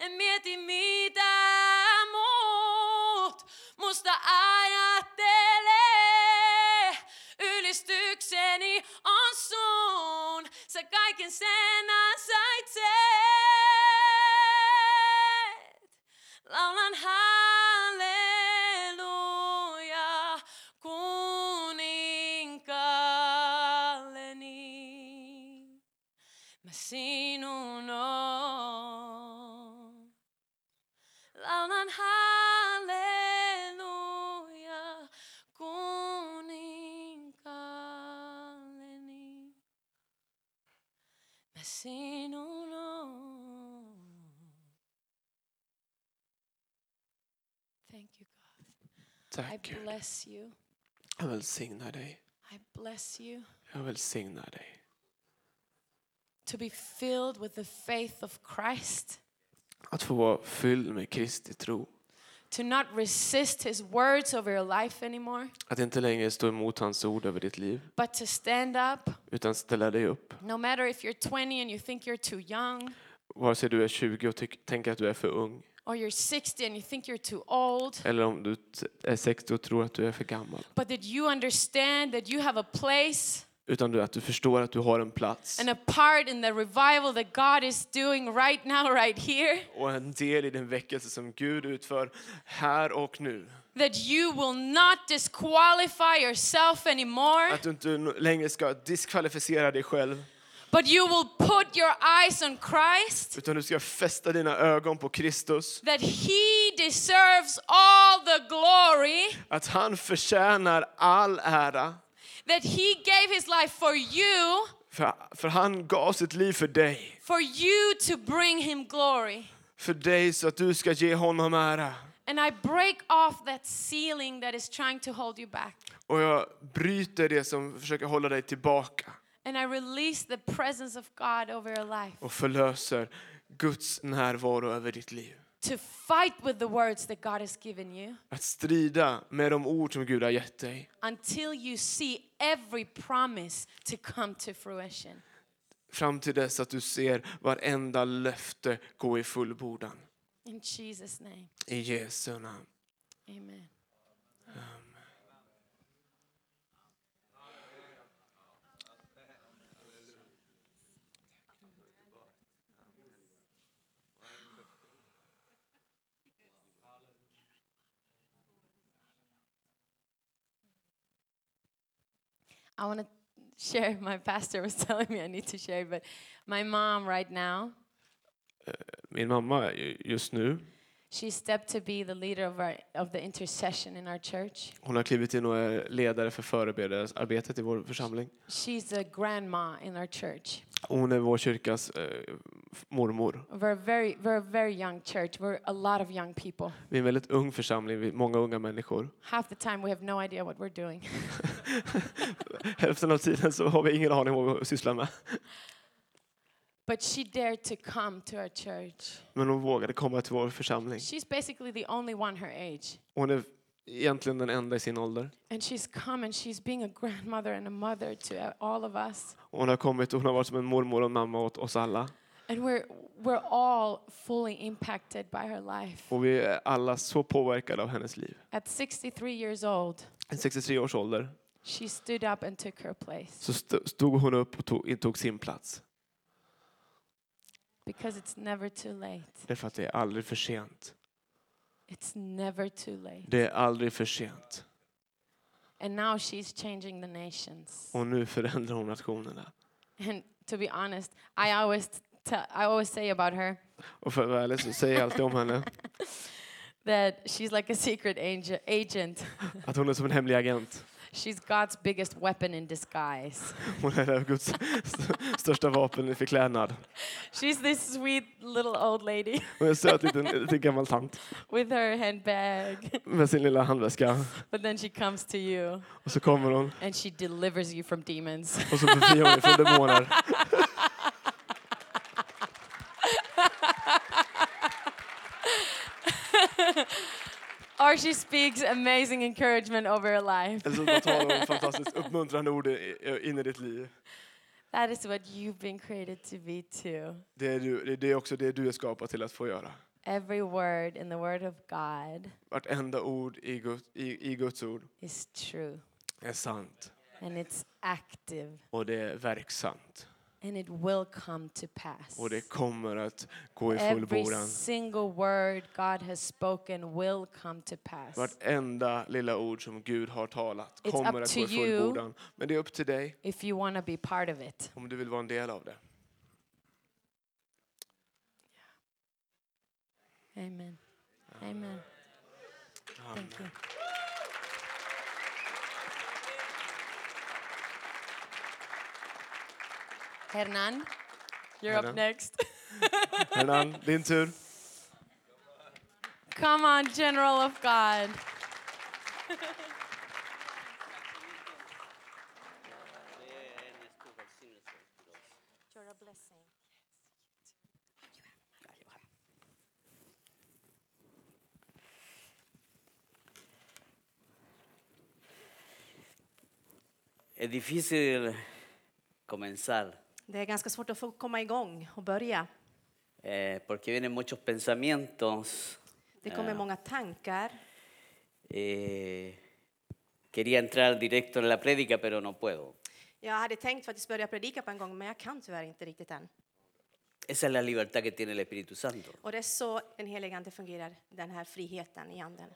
S2: en mieti mitään muut. Musta ajattelee, ylistykseni on sun. Sä kaiken sen ansaitset. Laulan halleluja kuninkaalleni. Mä sinun oon. Laulan halleluja kuninkaalleni. Mä sinun oon. Thank you, God. I
S3: Tack Gud.
S2: bless you.
S3: Jag välsignar dig.
S2: I bless you
S3: Jag välsignar dig.
S2: to be filled with the faith of Christ,
S3: Att få vara fylld med Kristi tro.
S2: to not resist his words over your life anymore,
S3: Att inte längre stå emot hans ord över ditt liv,
S2: but to stand up
S3: utan ställa dig upp.
S2: no matter if you're 20 and you think you're too young,
S3: Vare sig du är 20 och tyck- tänker att du är för ung,
S2: or you're 60 and you think you're too old,
S3: eller om du t- är 60 och tror att du är för gammal.
S2: but that you understand that you have a place
S3: Utan du, att du förstår att du har en plats
S2: and a part in the revival that God is doing right now, right here,
S3: och en del i den väckelse som Gud utför här och nu.
S2: that you will not disqualify yourself anymore,
S3: Att du inte no- längre ska diskvalificera dig själv,
S2: but you will put your eyes on Christ.
S3: utan du ska fästa dina ögon på Kristus.
S2: That he deserves all the glory,
S3: Att han förtjänar all ära,
S2: that he gave his life for you,
S3: för, för han gav sitt liv för dig.
S2: for you to bring him glory.
S3: För dig så att du ska ge honom ära.
S2: And I break off that ceiling that is trying to hold you back.
S3: Och jag bryter det som försöker hålla dig tillbaka
S2: And I release the presence of God over your life
S3: och förlöser Guds närvaro över ditt liv.
S2: to fight with the words that God has given you
S3: Att strida med de ord som Gud har gett dig
S2: until you see every promise to come to fruition.
S3: fram till dess att du ser varenda löfte gå i fullbordan.
S2: In Jesus' name,
S3: I Jesu namn.
S2: amen. I want to share. <laughs> My pastor was telling me I need to share, but my mom right now,
S3: Min mamma ju- just nu,
S2: she stepped to be the leader of our of the intercession in our church.
S3: hon har klivit in och är ledare för föreberedelsearbetet i vår församling.
S2: She's a grandma in our church.
S3: Hon är vår kyrkas eh, mormor.
S2: We're a very we're a very young church. We're a lot of young people.
S3: Vi är en väldigt ung församling, vi är många unga människor. <laughs>
S2: Half the time we have no idea what we're doing.
S3: Hälften av tiden så har vi ingen aning om vad vi sysslar med.
S2: but she dared to come to our church.
S3: Men hon vågade komma till vår församling.
S2: She's basically the only one her age.
S3: Och Hon är egentligen den enda i sin ålder.
S2: And she's come and she's being a grandmother and a mother to uh, all of us.
S3: Och Hon har kommit och hon har varit som en mormor och en mamma åt oss alla.
S2: And we're, we're all fully impacted by her life.
S3: Och vi är alla så påverkade av hennes liv.
S2: At 63 years old,
S3: I 63 års ålder
S2: she stood up and took her place
S3: så st- stod hon upp och tog, intog sin plats.
S2: because it's never too late.
S3: Därför att det är aldrig för sent.
S2: It's never too late.
S3: Det är aldrig för sent.
S2: And now she's changing the nations.
S3: Och nu förändrar hon nationerna.
S2: And to be honest, I always tell, I always say about her
S3: Och för att vara ärlig så säger jag alltid om henne
S2: that she's like a secret angel, agent.
S3: att hon är som en hemlig agent.
S2: She's God's biggest weapon in disguise.
S3: Hon är Guds st- största vapen i förklädnad.
S2: She's this sweet little old lady <laughs>
S3: Hon är en söt liten, liten gammal tant
S2: with her handbag.
S3: med sin lilla handväska.
S2: But then she comes to you
S3: Och så kommer hon
S2: and she delivers you from demons.
S3: och så befriar hon dig från demoner.
S2: or she speaks amazing encouragement over her life.
S3: Eller så bara talar hon fantastiskt uppmuntrande ord i- in i ditt liv.
S2: That is what you've been created to be too.
S3: Det är, du, det är- det är också det du är skapad till att få göra.
S2: Every word in the word of God
S3: Vartenda ord i Guds, i, i Guds ord
S2: is true
S3: är sant
S2: and it's active
S3: och det är verksamt.
S2: and it will come to pass.
S3: Och det kommer att gå i
S2: Every
S3: fullbordan.
S2: single word God has spoken will come to pass.
S3: Vartenda lilla ord som Gud har talat
S2: It's
S3: kommer
S2: up
S3: att
S2: to
S3: gå i
S2: you.
S3: fullbordan. Men det är upp till dig
S2: If you want to be part of it.
S3: om du vill vara en del av det.
S2: Amen. Amen. Thank you. Hernan, you're
S3: Hernan.
S2: up next. <laughs>
S3: Hernan, din tur.
S2: Come on, General of God.
S4: Es difícil comenzar
S5: Det är ganska svårt att få komma igång och börja.
S4: eh, porque vienen muchos pensamientos.
S5: Det kommer många tankar.
S4: Eh, quería entrar directo en la prédica, pero no puedo.
S5: Jag hade tänkt faktiskt börja predika på en gång, men jag kan tyvärr inte riktigt än.
S4: Esa es la libertad que tiene el Espíritu Santo.
S5: Och det är så den helige Ande fungerar, den här friheten i Anden.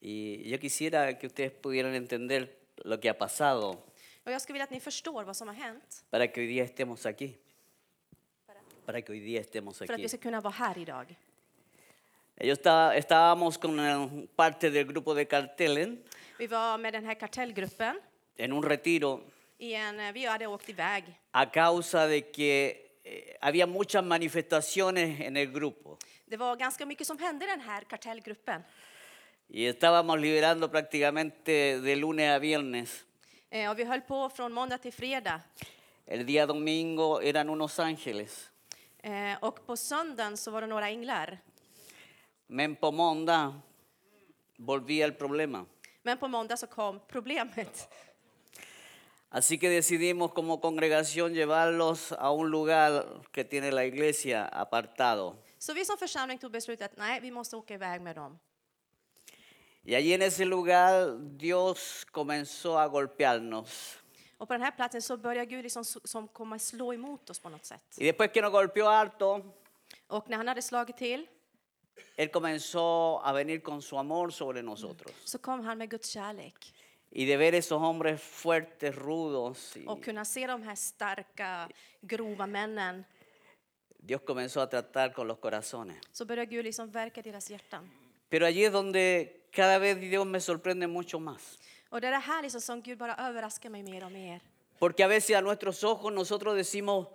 S4: Y yo quisiera que ustedes pudieran entender lo que ha pasado
S5: Och jag skulle vilja att ni förstår vad som har hänt
S4: para que hoy día estemos aquí. Para que hoy día estemos
S5: för att
S4: aquí.
S5: vi ska kunna vara här idag.
S4: Yo estaba, estábamos con eh, parte del grupo de Cartelen
S5: Vi var med den här kartellgruppen.
S4: en un retiro
S5: I en, vi hade åkt iväg
S4: a causa de que eh, había muchas manifestaciones en el grupo.
S5: Det var ganska mycket som hände i den här kartellgruppen.
S4: Y estábamos liberando prácticamente de lunes a viernes.
S5: Eh, och vi höll på från måndag till fredag.
S4: El día domingo eran unos ángeles.
S5: Eh, och på söndagen så var det några änglar.
S4: Mempomonda volvía el problema.
S5: Men på måndag så kom problemet.
S4: Así que decidimos como congregación llevarlos a un lugar que tiene la iglesia apartado.
S5: Så vi som församling tog beslutet att nej, vi måste åka iväg med dem.
S4: Y allí en ese lugar Dios comenzó a golpearnos.
S5: Och på den här platsen så börjar Gud liksom s- som komma slå emot oss på något sätt.
S4: Y después que nos golpeó harto,
S5: Och när han hade slagit till
S4: Él comenzó a venir con su amor sobre nosotros.
S5: så kom han med Guds kärlek
S4: Y de ver esos hombres fuertes, rudos, y-
S5: och kunna se de här starka, grova männen
S4: Dios comenzó a tratar con los corazones.
S5: så börjar Gud liksom verka i deras hjärtan.
S4: Pero allí es donde cada vez Dios me sorprende mucho más.
S5: Och det är det här liksom som Gud bara överraskar mig mer och mer.
S4: Porque a veces a nuestros ojos nosotros decimos,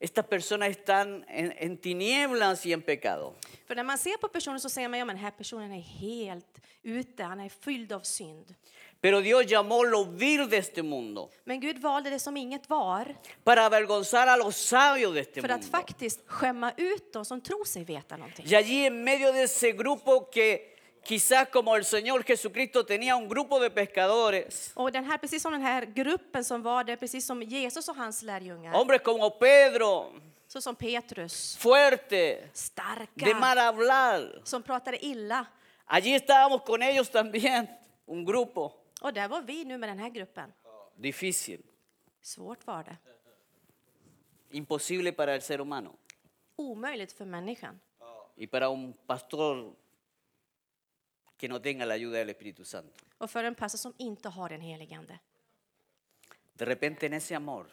S4: Estas personas están en, en tinieblas y en pecado.
S5: För när man ser på personen så ser man, ja men den här personen är helt ute, han är fylld av synd.
S4: Pero Dios llamó lo vil de este mundo
S5: Men Gud valde det som inget var
S4: para avergonzar a los sabios de este
S5: för att
S4: mundo.
S5: faktiskt skämma ut de som tror sig veta någonting.
S4: Y allí en medio de ese grupo que quizás como el Señor Jesucristo tenía un grupo de pescadores,
S5: Och den här, precis som den här gruppen som var där, precis som Jesus och hans lärjungar,
S4: hombres como Pedro,
S5: så som Petrus,
S4: fuerte, de mal
S5: starka,
S4: hablar,
S5: som pratade illa.
S4: allí estábamos con ellos también, <laughs> un grupo
S5: Och där var vi nu med den här gruppen.
S4: difícil,
S5: Svårt var det.
S4: imposible para el ser humano
S5: Omöjligt för människan.
S4: y para un pastor que no tenga la ayuda del Espíritu Santo.
S5: Och för en pastor som inte har den heligande.
S4: De repente en ese amor,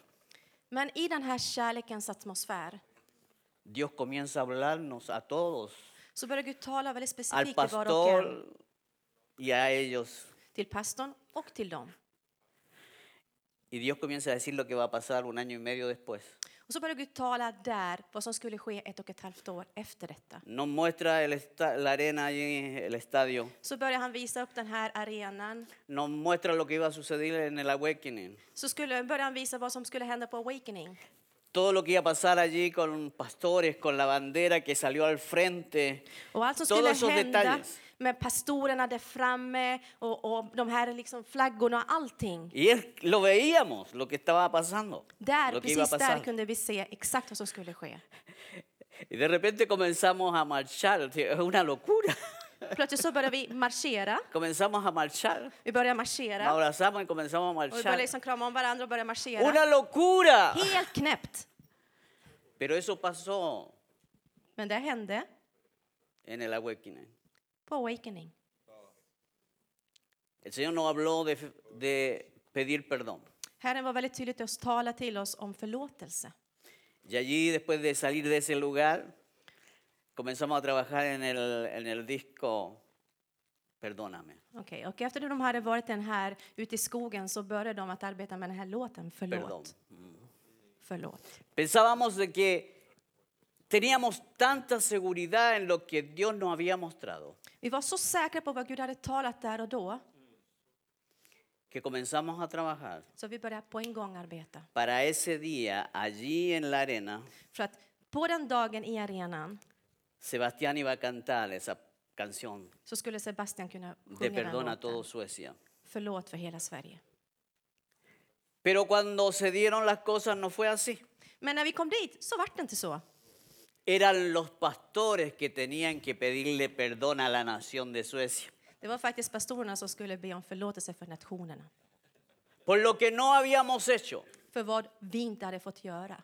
S5: Men i den här kärlekens atmosfär
S4: Dios comienza a hablarnos a todos,
S5: så börjar Gud tala väldigt
S4: al
S5: specifikt till var och en.
S4: pastor y a ellos
S5: Till pastorn och till dem.
S4: Y Dios comienza a decir lo que va a pasar un año y medio después.
S5: Och så börjar Gud tala där, vad som skulle ske ett och ett halvt år efter detta.
S4: Nos muestra el esta- la arena allí, el estadio.
S5: Så börjar han visa upp den här arenan.
S4: Nos muestra lo que iba a suceder en el Awakening.
S5: Så skulle, börjar han visa vad som skulle hända på Awakening.
S4: Todo lo que iba a pasar allí con pastores, con la bandera que salió al frente.
S5: Och allt som
S4: Todos esos
S5: skulle hända
S4: detalles.
S5: med pastorerna där framme och, och de här liksom flaggorna och allting.
S4: Y es- lo veíamos, lo que estaba pasando.
S5: Där,
S4: lo que iba a
S5: precis där
S4: pasar.
S5: kunde vi se exakt vad som skulle ske.
S4: Y de repente comenzamos a marchar. o sea, Es una locura. <laughs>
S5: Plötsligt så började vi marschera.
S4: comenzamos a marchar.
S5: Vi började
S4: Nos
S5: marschera.
S4: abrazamos y comenzamos a
S5: Och vi började
S4: marchar.
S5: liksom krama om varandra och började marschera.
S4: Una locura.
S5: Helt knäppt.
S4: Pero eso pasó
S5: Men det hände
S4: en el Awakening.
S5: på Awakening.
S4: El Señor nos habló de, de pedir perdón.
S5: Herren var väldigt tydlig till att tala till oss om förlåtelse.
S4: Y allí, después de salir de ese lugar, comenzamos a trabajar en el, en el disco Perdóname.
S5: Okej, och efter de hade varit den här ute i skogen så började de att arbeta med den här låten Förlåt.
S4: Perdón.
S5: Förlåt.
S4: Pensábamos de que teníamos tanta seguridad en lo que Dios nos había mostrado
S5: Vi var så säkra på vad Gud hade talat där och då
S4: que comenzamos a trabajar
S5: så vi började på en gång arbeta.
S4: para ese día allí en la arena.
S5: För att på den dagen i arenan
S4: Sebastián iba a cantar esa canción
S5: så skulle Sebastian kunna
S4: de
S5: sjunga den
S4: Perdona a todo
S5: låten.
S4: Suecia.
S5: Förlåt för hela Sverige.
S4: Pero cuando se dieron las cosas no fue así.
S5: Men när vi kom dit så vart det inte så.
S4: eran los pastores que tenían que pedirle perdón a la nación de Suecia,
S5: Det var faktiskt pastorerna som skulle be om förlåtelse för nationerna.
S4: por lo que no habíamos hecho,
S5: För vad vi inte hade fått göra.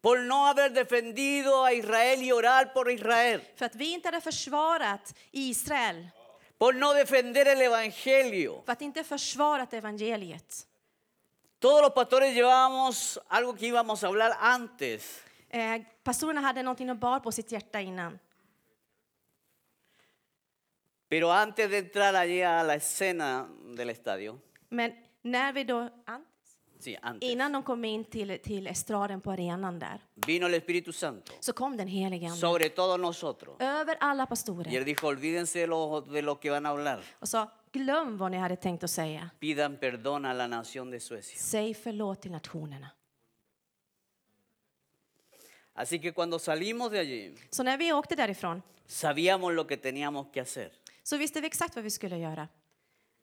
S4: por no haber defendido a Israel y orar por Israel,
S5: För att vi inte hade försvarat Israel.
S4: por no defender el Evangelio.
S5: För att inte försvarat evangeliet.
S4: Todos los pastores llevábamos algo que íbamos a hablar antes,
S5: Eh, pastorerna hade någonting att bar på sitt hjärta innan.
S4: pero antes de entrar allí a la escena del estadio,
S5: Men när vi då, an-
S4: sí, antes,
S5: innan de kom in till, till estraden på arenan där,
S4: vino el Espíritu Santo
S5: så kom den helige Ande
S4: sobre todos nosotros.
S5: över alla
S4: Y él
S5: pastorer
S4: dijo, olvídense de lo, de lo que van a hablar,
S5: och sa glöm vad ni hade tänkt att säga.
S4: pidan perdón a la nación de Suecia.
S5: Säg förlåt till nationerna.
S4: Así que cuando salimos de allí,
S5: Så när vi åkte därifrån
S4: sabíamos lo que teníamos que hacer.
S5: så visste vi exakt vad vi skulle göra.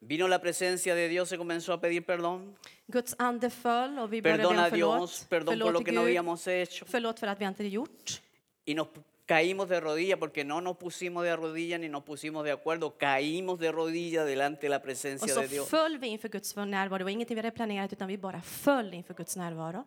S4: Vino la presencia de Dios, se comenzó a pedir perdón.
S5: Guds ande föll och vi började
S4: Perdón
S5: be om
S4: a
S5: förlåt.
S4: Dios, perdón por
S5: Förlåt
S4: lo
S5: till
S4: que no
S5: Gud.
S4: habíamos hecho.
S5: Förlåt för att vi inte hade gjort.
S4: Y nos caímos de rodillas porque no nos pusimos de rodillas ni nos pusimos de acuerdo. Caímos de rodillas delante de la
S5: Och
S4: presencia
S5: så
S4: de Dios.
S5: föll vi inför Guds närvaro. Det var ingenting vi hade planerat utan vi bara föll inför Guds närvaro.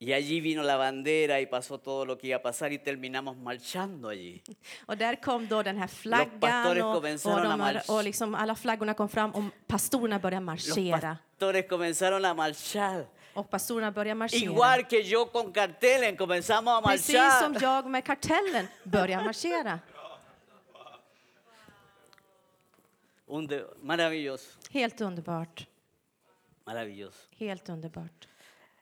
S4: Y allí vino la bandera y pasó todo lo que iba a pasar y terminamos marchando allí.
S5: Och där kom då den här
S4: pastores
S5: flaggan och, och,
S4: comenzaron a
S5: de, här-
S4: march-
S5: och liksom alla flaggorna kom fram och pastorerna började
S4: Los
S5: marschera.
S4: pastores comenzaron a marchar.
S5: Och pastorerna började marschera.
S4: Igual que yo con carteles, comenzamos a
S5: Precis som
S4: marchar.
S5: jag med kartellen började marschera.
S4: Un de- Maravilloso,
S5: Helt underbart.
S4: maravilloso.
S5: Helt underbart.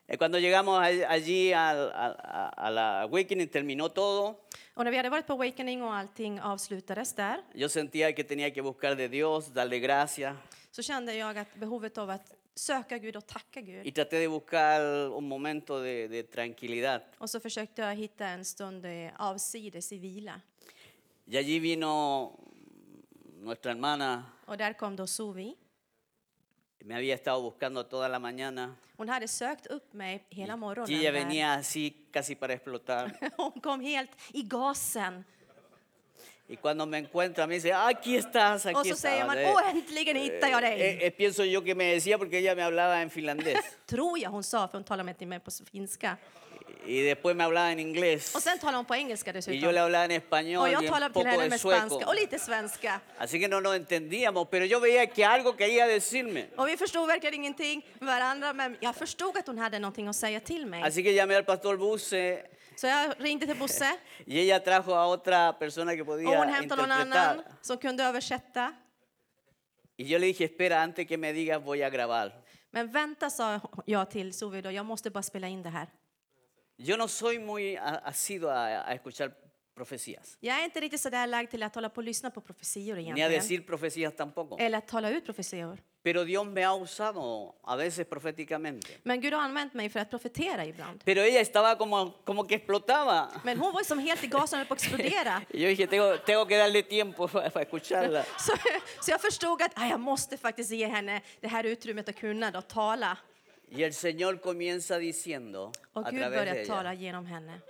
S4: Eh, Cuando llegamos all- allí al- al- a, a la Awakening, terminó todo.
S5: Och när vi hade varit på Awakening och allting avslutades där
S4: Yo sentía que tenía que buscar de Dios, darle gracias.
S5: så kände jag att behovet av att söka Gud och tacka
S4: Y
S5: Gud.
S4: traté de buscar un momento de, de tranquilidad.
S5: Och så försökte jag hitta en stund i- avsides i vila.
S4: Y allí vino nuestra hermana.
S5: Och där kom då Sovi.
S4: Me había estado buscando toda la mañana.
S5: Hon hade sökt upp mig hela morgonen.
S4: Y ella
S5: där.
S4: venía así casi para explotar.
S5: <laughs> Hon kom helt i gasen.
S4: Y cuando me encuentra me dice, aquí estás,
S5: Och
S4: aquí
S5: så säger
S4: estás.
S5: man, åh äntligen hittar jag dig!
S4: Eh, eh, pienso yo que me decía porque ella me hablaba en finlandés.
S5: Tror jag hon sa, för hon talade med till mig på finska.
S4: y después me hablaba en inglés.
S5: Och sen talade hon på engelska
S4: y yo le
S5: dessutom.
S4: hablaba en español
S5: Och
S4: y
S5: jag
S4: un
S5: talade till
S4: poco
S5: henne
S4: en
S5: med
S4: sueco.
S5: spanska och lite svenska.
S4: Así que no nos entendíamos, pero yo veía que algo quería decirme.
S5: Och vi förstod verkligen ingenting med varandra, men jag förstod att hon hade någonting att säga till mig.
S4: Así que llamé al pastor Buse
S5: Så jag ringde till
S4: <laughs>
S5: Bosse
S4: y ella trajo a otra persona que
S5: och hon
S4: podía
S5: hämtade någon annan
S4: interpretar.
S5: som kunde översätta.
S4: Y yo le dije, espera, antes que me digas voy a grabar.
S5: Men vänta, sa jag till Sovi då, jag måste bara spela in det här.
S4: Yo no soy muy a- asido a, a escuchar profecías,
S5: Jag är inte riktigt sådär lagd till att hålla på och lyssna på profetior
S4: ni a
S5: egentligen.
S4: decir profecías tampoco.
S5: Eller att tala ut profetior.
S4: Pero Dios me ha usado a veces proféticamente.
S5: Men Gud har använt mig för att profetera ibland.
S4: Pero ella estaba como, como que explotaba.
S5: Men hon var ju som helt i gasen och höll på att
S4: <laughs>
S5: explodera.
S4: Y yo dije, tengo, tengo que darle tiempo <laughs> para, para escucharla.
S5: Så, så jag förstod att "Ah, jag måste faktiskt ge henne det här utrymmet att kunna då, tala.
S4: Y el Señor comienza diciendo
S5: Och
S4: a
S5: Gud
S4: través de
S5: började tala
S4: ella,
S5: genom henne.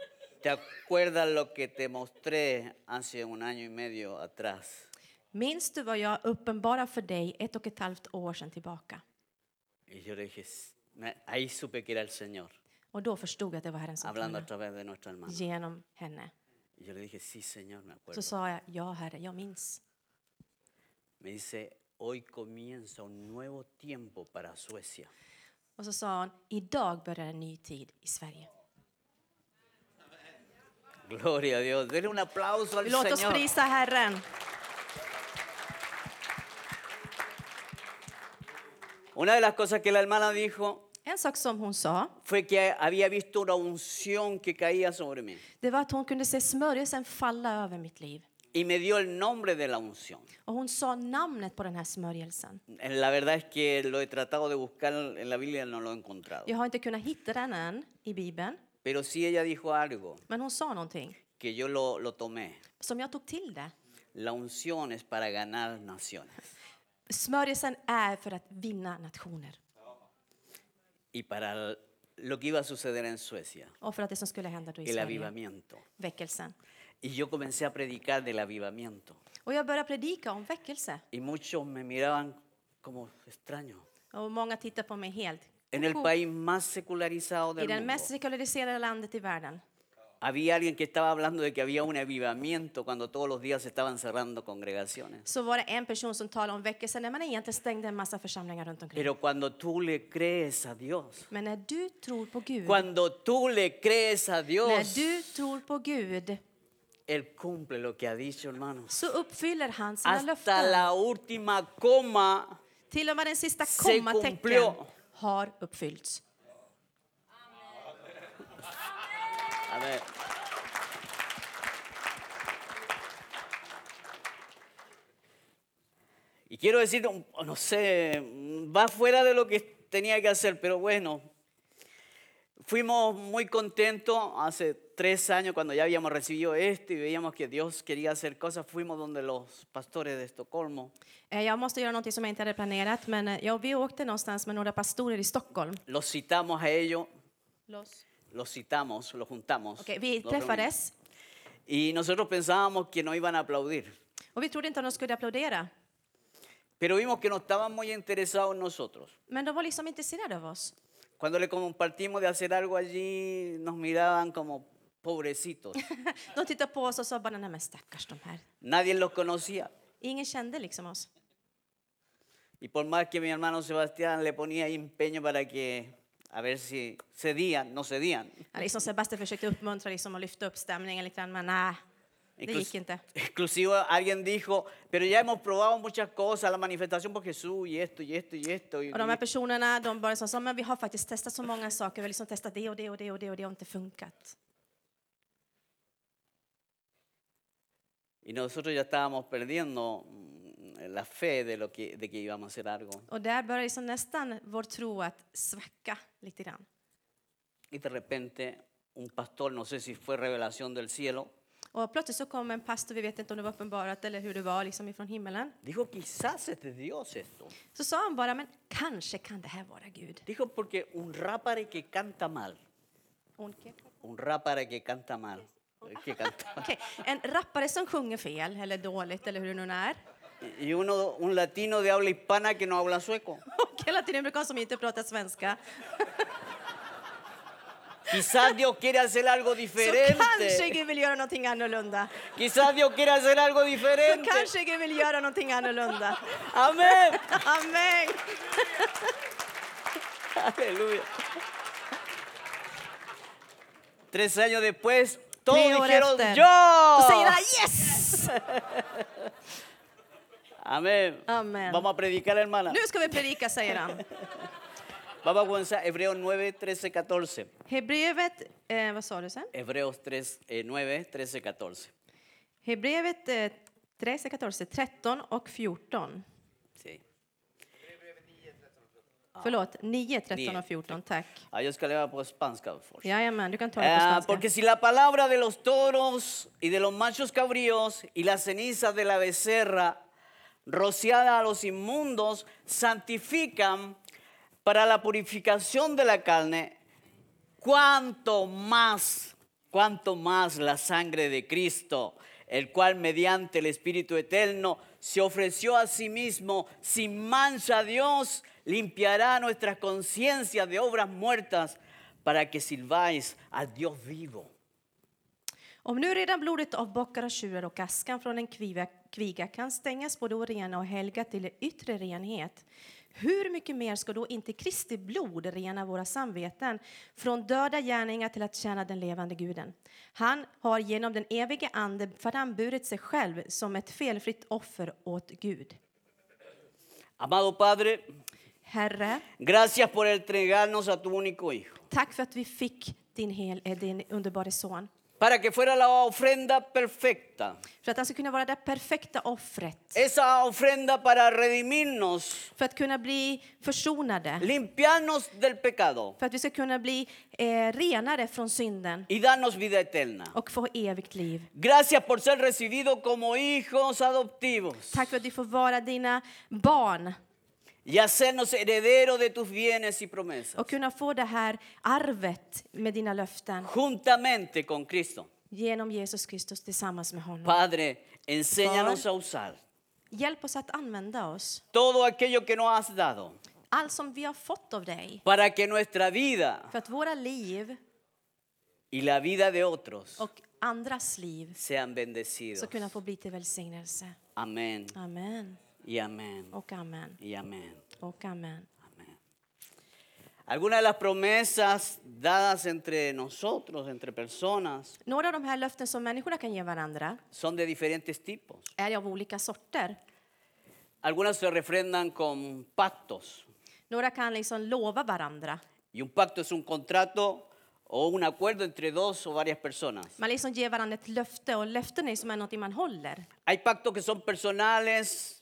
S4: ¿te acuerdas lo que te mostré hace un año y medio atrás?
S5: Minns du vad jag uppenbarade för dig ett och ett halvt år sedan tillbaka?
S4: Y yo le dije, "S- me- ahí supe que era el Señor,
S5: Och då förstod jag att det var Herren som
S4: hablando
S5: talade
S4: a través de nuestra hermana.
S5: genom henne.
S4: Y yo le dije, sí, Señor, me
S5: Så
S4: acuerdo.
S5: sa jag, ja Herre, jag minns.
S4: Me dice, hoy comienza un nuevo tiempo para Suecia.
S5: Och så sa hon, idag börjar en ny tid i Sverige.
S4: Gloria a Dios. Denle un aplauso al
S5: Låt oss
S4: Señor.
S5: prisa Herren.
S4: Una de las cosas que la hermana dijo
S5: En sak som hon sa,
S4: fue que había visto una unción que caía sobre mí.
S5: det var att hon kunde se smörjelsen falla över mitt liv.
S4: Y me dio el nombre de la unción.
S5: Och hon sa namnet på den här smörjelsen.
S4: eh, La verdad es que lo he tratado de buscar en la Biblia, no lo he encontrado.
S5: Jag har inte kunnat hitta den än i Bibeln,
S4: Pero sí ella dijo algo
S5: men hon sa någonting
S4: que yo lo, lo tomé.
S5: som jag tog till det.
S4: La unción es para ganar naciones
S5: Smörjelsen är för att vinna nationer
S4: y para l- lo que iba a suceder en Suecia,
S5: och för att det som skulle hända då i
S4: el
S5: Sverige.
S4: avivamiento.
S5: Väckelsen.
S4: Y yo comencé a predicar del avivamiento.
S5: Och jag började predika om väckelse
S4: Y muchos me miraban como extraño.
S5: och många tittar på mig helt.
S4: En el
S5: Koko.
S4: país más secularizado
S5: I
S4: del
S5: den
S4: mundo,
S5: mest sekulariserade landet i världen
S4: había alguien que estaba hablando de que había un avivamiento cuando todos los días se estaban cerrando congregaciones.
S5: så var det en person som talade om väckelse när man egentligen stängde en massa församlingar runt omkring.
S4: Pero cuando tú le crees a Dios,
S5: Men när du tror på Gud,
S4: cuando tú le crees a
S5: när
S4: Dios,
S5: du tror på Gud
S4: Él cumple lo que ha dicho, hermanos.
S5: så uppfyller han sina
S4: Hasta
S5: löften.
S4: la última coma,
S5: Till och med den sista
S4: Se
S5: kommatecken
S4: cumplió.
S5: har uppfyllts.
S4: a ver, Y quiero decir, un- no sé, va fuera de lo que tenía que hacer, pero bueno, fuimos muy contentos hace tres años cuando ya habíamos recibido esto y veíamos que Dios quería hacer cosas, fuimos donde los pastores de Estocolmo.
S5: Eh, Jag måste göra något som jag inte hade planerat, men eh, ja, vi åkte någonstans med några pastorer i Stockholm.
S4: Los citamos a ellos,
S5: Los.
S4: los citamos, los juntamos.
S5: vi
S4: los reunimos.
S5: träffades
S4: Y nosotros pensábamos que no iban a aplaudir,
S5: och vi trodde inte att de skulle applådera.
S4: pero vimos que no estaban muy interesados en nosotros.
S5: Men de var liksom intresserade av oss.
S4: Cuando le compartimos de hacer algo allí, nos miraban como pobrecitos.
S5: De tittade på oss och sa bara, nej men stackars de här.
S4: Nadie los conocía.
S5: Ingen kände liksom oss.
S4: Y por más que mi hermano Sebastián le ponía empeño para que, a ver si cedían, no cedían.
S5: Ja, liksom Sebastian försökte uppmuntra liksom och lyfta upp stämningen lite grann, men nej. Det
S4: Inclus-
S5: gick inte.
S4: Inclusive alguien dijo, pero ya hemos probado muchas cosas, la manifestación por Jesús y esto y esto y esto. Y,
S5: Och de här personerna de bara sa, så, men vi har faktiskt testat så många saker, vi har liksom testat det och det och det och det och det har inte funkat.
S4: y nosotros ya estábamos perdiendo mm, la fe de, lo que, de que íbamos a hacer algo.
S5: Och där börjar liksom nästan vår tro att svacka lite grann.
S4: Y de repente un pastor, no sé si fue revelación del cielo,
S5: Och plötsligt så kom en pastor, vi vet inte om det var uppenbarat eller hur det var, liksom ifrån himmelen.
S4: dijo, quizás es de Dios esto.
S5: Så sa han bara, men kanske kan det här vara Gud.
S4: Dijo, porque un rápare que canta mal,
S5: Okej.
S4: un rápare que canta mal, que canta <laughs> mal.
S5: En rappare som sjunger fel eller dåligt eller hur det nu är.
S4: Y uno, un latino de habla hispana que no habla sueco.
S5: Och hela tiden brukar som inte pratar svenska.
S4: Quizás Dios quiere hacer algo
S5: Så kanske
S4: diferente.
S5: Gud vill göra någonting annorlunda.
S4: Quizás Dios quiere hacer algo
S5: Så
S4: diferente.
S5: kanske Gud vill göra någonting annorlunda.
S4: Amén.
S5: Amen.
S4: <laughs> Aleluya. Tres años después, todos
S5: Tre år
S4: dijeron
S5: efter. Då säger
S4: yo.
S5: han yes!
S4: Amén.
S5: Amén.
S4: Vamos a predicar, hermana.
S5: Nu ska vi predika, säger han.
S4: Vamos a comenzar Hebreos 9, 13, 14.
S5: Hebrevet, eh, vad sa du sen?
S4: Hebreos 3, eh, 9, 13, 14.
S5: Hebrevet eh, 13, 14, 13 och 14.
S4: Sí.
S5: Förlåt, 9, 13
S4: Nio.
S5: och 14, tack.
S4: Ah, yo es que le voy a poner spanska, por favor.
S5: Jajamän, du kan ta det
S4: Ah,
S5: på
S4: porque
S5: svenska.
S4: si la palabra de los toros y de los machos cabríos y las cenizas de la becerra rociada a los inmundos santifican para la purificación de la carne, cuanto más, cuanto más la sangre de Cristo, el cual mediante el Espíritu Eterno se ofreció a sí mismo sin mancha a Dios, limpiará nuestras conciencias de obras muertas para que sirváis a Dios vivo.
S5: Om nu redan blodet av bockar och tjurar och askan från en kviga, kviga kan stängas både orena och helga till yttre renhet, hur mycket mer ska då inte Kristi blod rena våra samveten från döda gärningar till att tjäna den levande Guden? Han har genom den evige Ande framburit sig själv som ett felfritt offer åt Gud.
S4: Amado Padre,
S5: Herre,
S4: gracias por entregarnos a tu único Hijo,
S5: tack för att vi fick din, hel, eh, din underbara son.
S4: para que fuera la ofrenda perfecta,
S5: För att han ska kunna vara det perfekta offret.
S4: esa ofrenda para redimirnos,
S5: För att kunna bli försonade.
S4: limpiarnos del pecado.
S5: För att vi ska kunna bli eh, renare från synden
S4: y danos vida eterna.
S5: och få evigt liv.
S4: Gracias por ser recibidos como hijos adoptivos
S5: Tack för att vi får vara dina barn
S4: y hacernos herederos de tus bienes y promesas,
S5: och kunna få det här arvet med dina löften
S4: juntamente con Cristo.
S5: genom Jesus Kristus tillsammans med honom.
S4: Padre, enséñanos a usar
S5: Hjälp oss att använda oss,
S4: todo aquello que nos has dado
S5: allt som vi har fått av dig,
S4: para que nuestra vida
S5: för att våra liv
S4: y la vida de otros
S5: och andras liv
S4: sean
S5: ska
S4: bendecidos.
S5: kunna få bli till välsignelse.
S4: Amén
S5: Amen
S4: y amén
S5: och amen
S4: y amén.
S5: och amen.
S4: Algunas de las promesas dadas entre nosotros, entre personas,
S5: Några av de här löften som människorna kan ge varandra
S4: son de diferentes tipos.
S5: är av olika sorter.
S4: Algunas se refrendan con pactos.
S5: Några kan liksom lova varandra.
S4: Y un pacto es un contrato o un acuerdo entre dos o varias personas.
S5: Man liksom ger varandra ett löfte och löften är som är något man håller.
S4: Hay pactos que son personales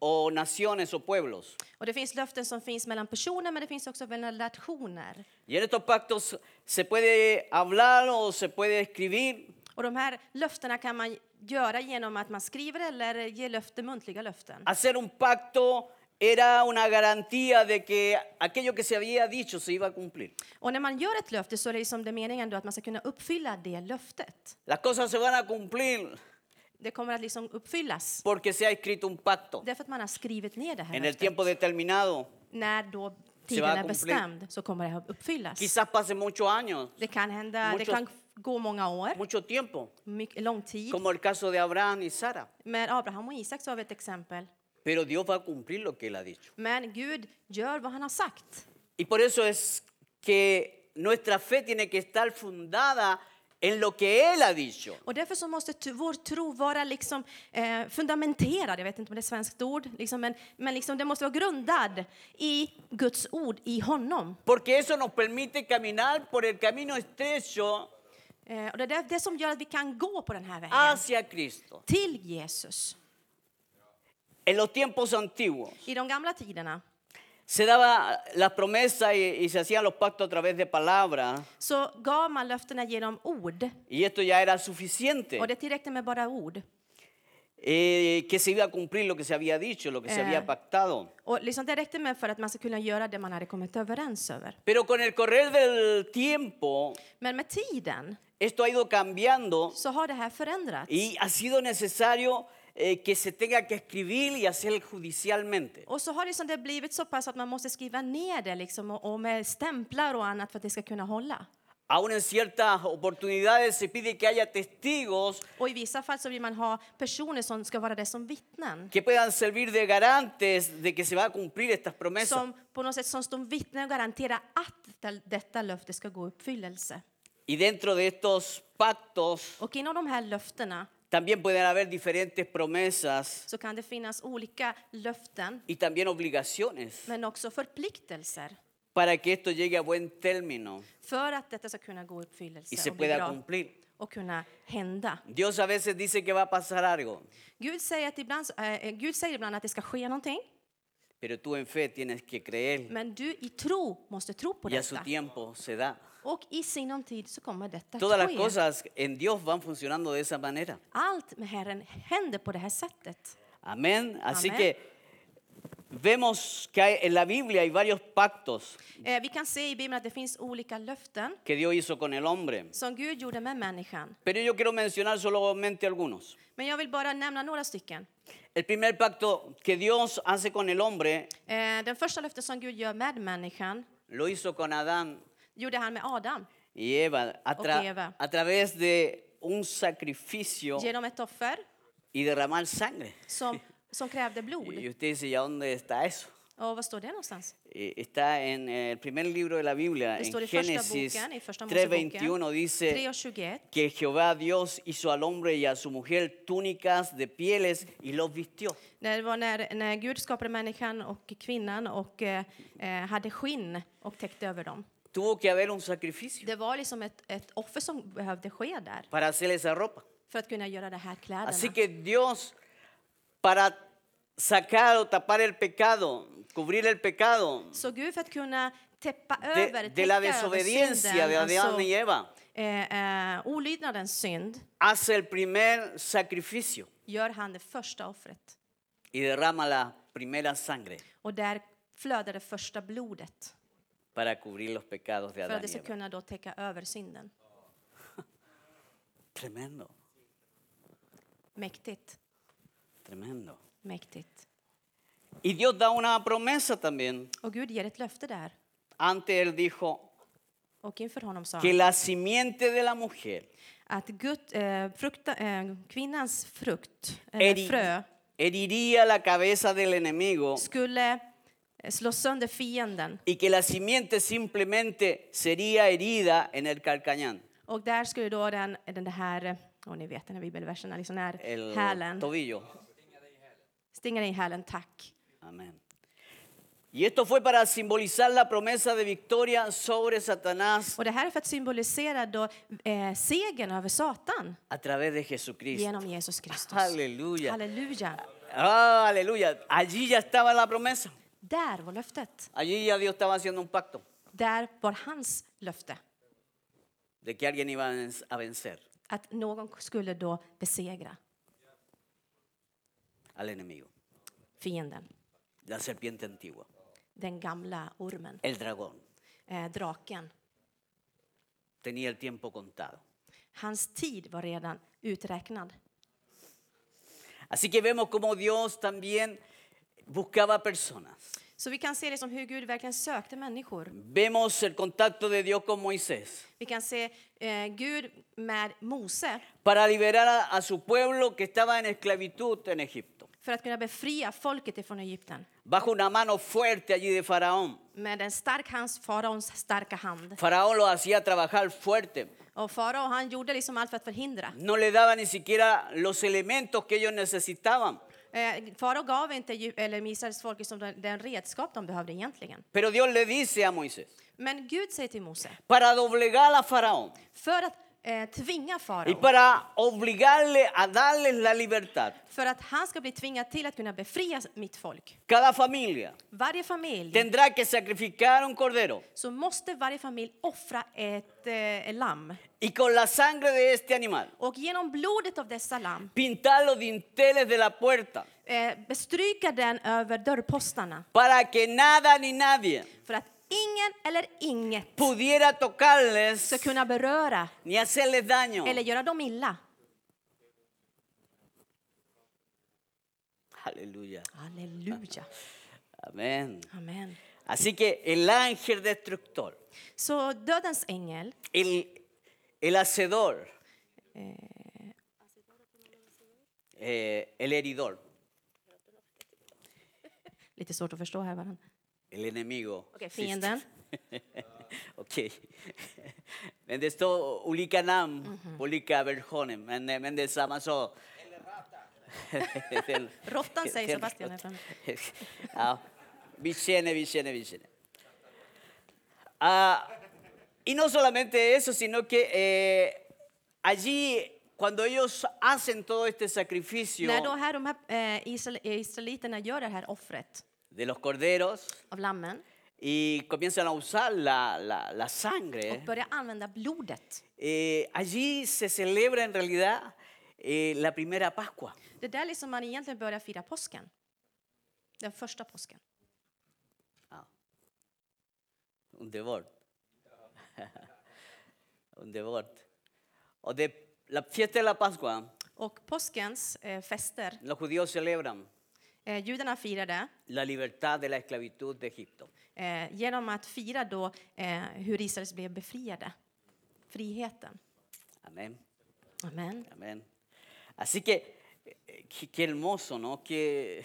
S4: o naciones o pueblos.
S5: Och det finns löften som finns mellan personer men det finns också mellan relationer.
S4: Y en estos pactos se puede hablar o se puede escribir
S5: Och de här löftena kan man göra genom att man skriver eller ger löfte, muntliga löften.
S4: Hacer un pacto era una garantía de que aquello que se había dicho se iba a cumplir.
S5: Och när man gör ett löfte så är det liksom det meningen då att man ska kunna uppfylla det löftet.
S4: Las cosas se van a cumplir
S5: Det kommer att liksom uppfyllas.
S4: porque se ha escrito un pacto.
S5: Därför att man har skrivit ner det här
S4: En el
S5: löftet.
S4: tiempo determinado,
S5: När då
S4: va a
S5: tiden är
S4: cumplir.
S5: bestämd så kommer det att uppfyllas.
S4: quizás pase muchos años,
S5: Det kan hända, det
S4: Mucho-
S5: kan gå många år,
S4: mucho tiempo.
S5: mycket, lång tid.
S4: como el caso de Abraham y Sara.
S5: Med Abraham och Isak så har vi ett exempel.
S4: Pero Dios va a cumplir lo que él ha dicho.
S5: Men Gud gör vad han har sagt.
S4: Y por eso es que nuestra fe tiene que estar fundada en lo que Él ha dicho.
S5: Och därför så måste t- vår tro vara liksom, eh, fundamenterad, jag vet inte om det är ett svenskt ord, liksom, men, men liksom, den måste vara grundad i Guds ord, i honom.
S4: Porque eso nos permite caminar por el camino estrecho
S5: Eh, och det är det- det som gör att vi kan gå på den här vägen,
S4: hacia Cristo.
S5: till Jesus.
S4: En los tiempos antiguos
S5: I de gamla tiderna
S4: se daba las promesas y, y se hacían los pactos a través de palabras.
S5: så gav man löftena genom ord,
S4: Y esto ya era suficiente,
S5: och det räckte med bara ord.
S4: eh, que se iba a cumplir lo que se había dicho, lo que se
S5: Eh.
S4: había pactado.
S5: Och liksom det räckte med för att man ska kunna göra det man hade kommit överens över.
S4: Pero con el correr del tiempo,
S5: Men med tiden
S4: esto ha ido cambiando
S5: så har det här förändrats.
S4: y ha sido necesario eh, que se tenga que escribir y hacer judicialmente.
S5: Och så har det, som det blivit så pass att man måste skriva ner det liksom, och, och med stämplar och annat för att det ska kunna hålla.
S4: Aún en ciertas oportunidades se pide que haya testigos
S5: Och i vissa fall så vill man ha personer som ska vara det som vittnen.
S4: que puedan servir de garantes de que se va a cumplir estas promesas.
S5: Som på något sätt som står vittnen och garanterar att det- detta löfte ska gå i uppfyllelse.
S4: Y dentro de estos pactos
S5: Och inom de här löftena
S4: también pueden haber diferentes promesas
S5: så kan det finnas olika löften
S4: y también obligaciones
S5: men också förpliktelser
S4: para que esto llegue a buen término
S5: för att detta ska kunna gå i
S4: y se
S5: uppfyllelse och bli
S4: pueda
S5: bra
S4: cumplir.
S5: och kunna hända.
S4: Dios a veces dice que va a pasar algo,
S5: Gud säger, att ibland, eh, Gud säger ibland att det ska ske någonting
S4: pero tú en fe tienes que creer
S5: men du i tro måste tro på
S4: y a su
S5: detta.
S4: tiempo se da.
S5: Och i sinom tid så kommer detta att
S4: Todas las
S5: ske.
S4: cosas en Dios van funcionando de esa manera.
S5: Allt med Herren händer på det här sättet.
S4: Amén. Así
S5: Amén.
S4: que vemos que hay- en la Biblia hay varios pactos
S5: Eh, vi kan se i Bibeln att det finns olika löften
S4: que Dios hizo con el hombre.
S5: som Gud gjorde med människan.
S4: Pero yo quiero mencionar solamente algunos.
S5: Men jag vill bara nämna några stycken.
S4: El primer pacto que Dios hace con el hombre
S5: Eh, den första löften som Gud gör med människan
S4: lo hizo con Adán
S5: gjorde han med Adam
S4: y Eva a, tra-
S5: Ok, Eva.
S4: a través de un sacrificio
S5: genom ett offer
S4: y derramar sangre.
S5: som, som krävde
S4: Y <laughs>
S5: blod.
S4: usted dice, ¿y a dónde está eso?
S5: Och vad står det någonstans?
S4: Eh, Está en el primer libro de la Biblia,
S5: Det
S4: en
S5: står i första
S4: Génesis
S5: boken, i första Moseboken
S4: 3.21 dice
S5: 3.21.
S4: que Jehová Dios hizo al hombre y a su mujer túnicas de pieles y los vistió.
S5: När Det var när, när Gud skapade människan och kvinnan och eh, eh, hade skinn och täckte över dem.
S4: Tuvo que haber un sacrificio
S5: Det var liksom ett, ett offer som behövde ske där.
S4: para hacer esa ropa.
S5: för att kunna göra det här kläderna.
S4: Así que Dios, para sacar o tapar el pecado, cubrir el pecado
S5: så Gud för att kunna täppa över,
S4: de, de la
S5: täcka över
S4: desobediencia de Adán y
S5: synden,
S4: Eva,
S5: eh, eh, olydnadens synd,
S4: hace el primer sacrificio
S5: gör han det första offret.
S4: y derrama la primera sangre
S5: Och där flödar det första blodet
S4: para cubrir los pecados de
S5: för att
S4: Adán
S5: det
S4: y
S5: ska
S4: Eva.
S5: kunna då täcka över synden.
S4: Tremendo,
S5: Mäktigt,
S4: tremendo.
S5: mäktigt.
S4: Y Dios da una promesa también.
S5: Och Gud ger ett löfte där.
S4: Antes Él dijo
S5: Och inför honom sa
S4: que
S5: han
S4: la simiente de la mujer
S5: att Gud, eh, frukta, eh, kvinnans frukt, eller
S4: heri-
S5: frö,
S4: heriría la cabeza del enemigo
S5: skulle eh, slå sönder fienden.
S4: y que la simiente simplemente sería herida en el calcañán,
S5: Och där skulle då den, den här, eh, och ni vet den här bibelversen, liksom den här
S4: el
S5: hälen,
S4: tobillo.
S5: stinga dig i hälen, tack.
S4: Amén. Y esto fue para simbolizar la promesa de victoria sobre Satanás
S5: Och det här är för att symbolisera då eh, segern över Satan
S4: a través de Jesucristo.
S5: genom Jesus Kristus.
S4: Aleluya.
S5: Halleluja.
S4: Ah, aleluya. Allí ya estaba la promesa.
S5: Där var löftet.
S4: Allí ya Dios estaba haciendo un pacto
S5: Där var hans löfte.
S4: de que alguien iba a venc- a vencer
S5: Att någon skulle då besegra
S4: al enemigo,
S5: fienden.
S4: la serpiente antigua,
S5: Den gamla ormen,
S4: el dragón.
S5: eh, draken.
S4: Tenía el tiempo contado.
S5: Hans tid var redan uträknad.
S4: Así que vemos cómo Dios también buscaba personas.
S5: Så vi kan se liksom hur Gud verkligen sökte människor.
S4: Vemos el contacto de Dios con Moisés
S5: Vi kan se eh, Gud med Mose
S4: para liberar a, a su pueblo que estaba en esclavitud en Egipto.
S5: för att kunna befria folket ifrån Egypten.
S4: bajo una mano fuerte allí de Faraón.
S5: Med en stark hands, faraons starka hand.
S4: Faraón lo hacía trabajar fuerte.
S5: Och farao han gjorde liksom allt för att förhindra.
S4: No le daba ni siquiera los elementos que ellos necesitaban.
S5: Eh, farao gav inte Egy- eller Israels folk liksom den, den redskap de behövde egentligen.
S4: Pero Dios le dice a Moisés,
S5: Men Gud säger till Mose,
S4: para doblegar a Faraón
S5: för att eh, tvinga
S4: y
S5: farao,
S4: para obligarle a darles la libertad,
S5: för att han ska bli tvingad till att kunna befria mitt folk.
S4: cada familia
S5: Varje familj,
S4: tendrá que sacrificar un cordero
S5: så måste varje familj offra ett eh, lamm.
S4: y con la sangre de este animal
S5: Och genom blodet av dessa lamm
S4: pintar los dinteles de la puerta
S5: eh, bestryka den över dörrpostarna
S4: para que nada ni nadie
S5: för att ingen eller inget
S4: pudiera tocarles
S5: ska kunna beröra
S4: ni hacerles daño.
S5: eller göra dem illa.
S4: Aleluya.
S5: Halleluja.
S4: Amén.
S5: Amen.
S4: Así que el ángel destructor,
S5: Så dödens ängel,
S4: el, el hacedor, eh, el heridor,
S5: lite svårt att förstå här varandra.
S4: el enemigo.
S5: Okej, fienden.
S4: Ok. <laughs> Men det står olika namn på olika versioner, men, men det är samma sak. <laughs> Eller
S5: Råttan säger Sebastian här framme.
S4: <laughs> ja, vi känner, vi känner, vi känner. Ah, y no solamente eso, sino que eh, allí, cuando ellos hacen todo este sacrificio
S5: När då här, de här eh, Israel, eh, israeliterna gör det här offret
S4: de los corderos
S5: av lammen
S4: y comienzan a usar la, la- la
S5: och
S4: sangre,
S5: börjar använda blodet.
S4: eh, allí se celebra en realidad eh, la primera Pascua.
S5: Det är där liksom man egentligen börjar fira påsken. Den första påsken.
S4: <laughs> Underbart. Underbart. Och det, la fiesta de la Pascua,
S5: Och påskens eh, fester,
S4: los judíos celebran
S5: eh, judarna firade
S4: la libertad de la esclavitud de Egipto.
S5: eh, genom att fira då eh, hur Israels blev befriade. Friheten.
S4: Amén,
S5: Amen.
S4: amén. Así que, eh, qué, qué hermoso, ¿no? Que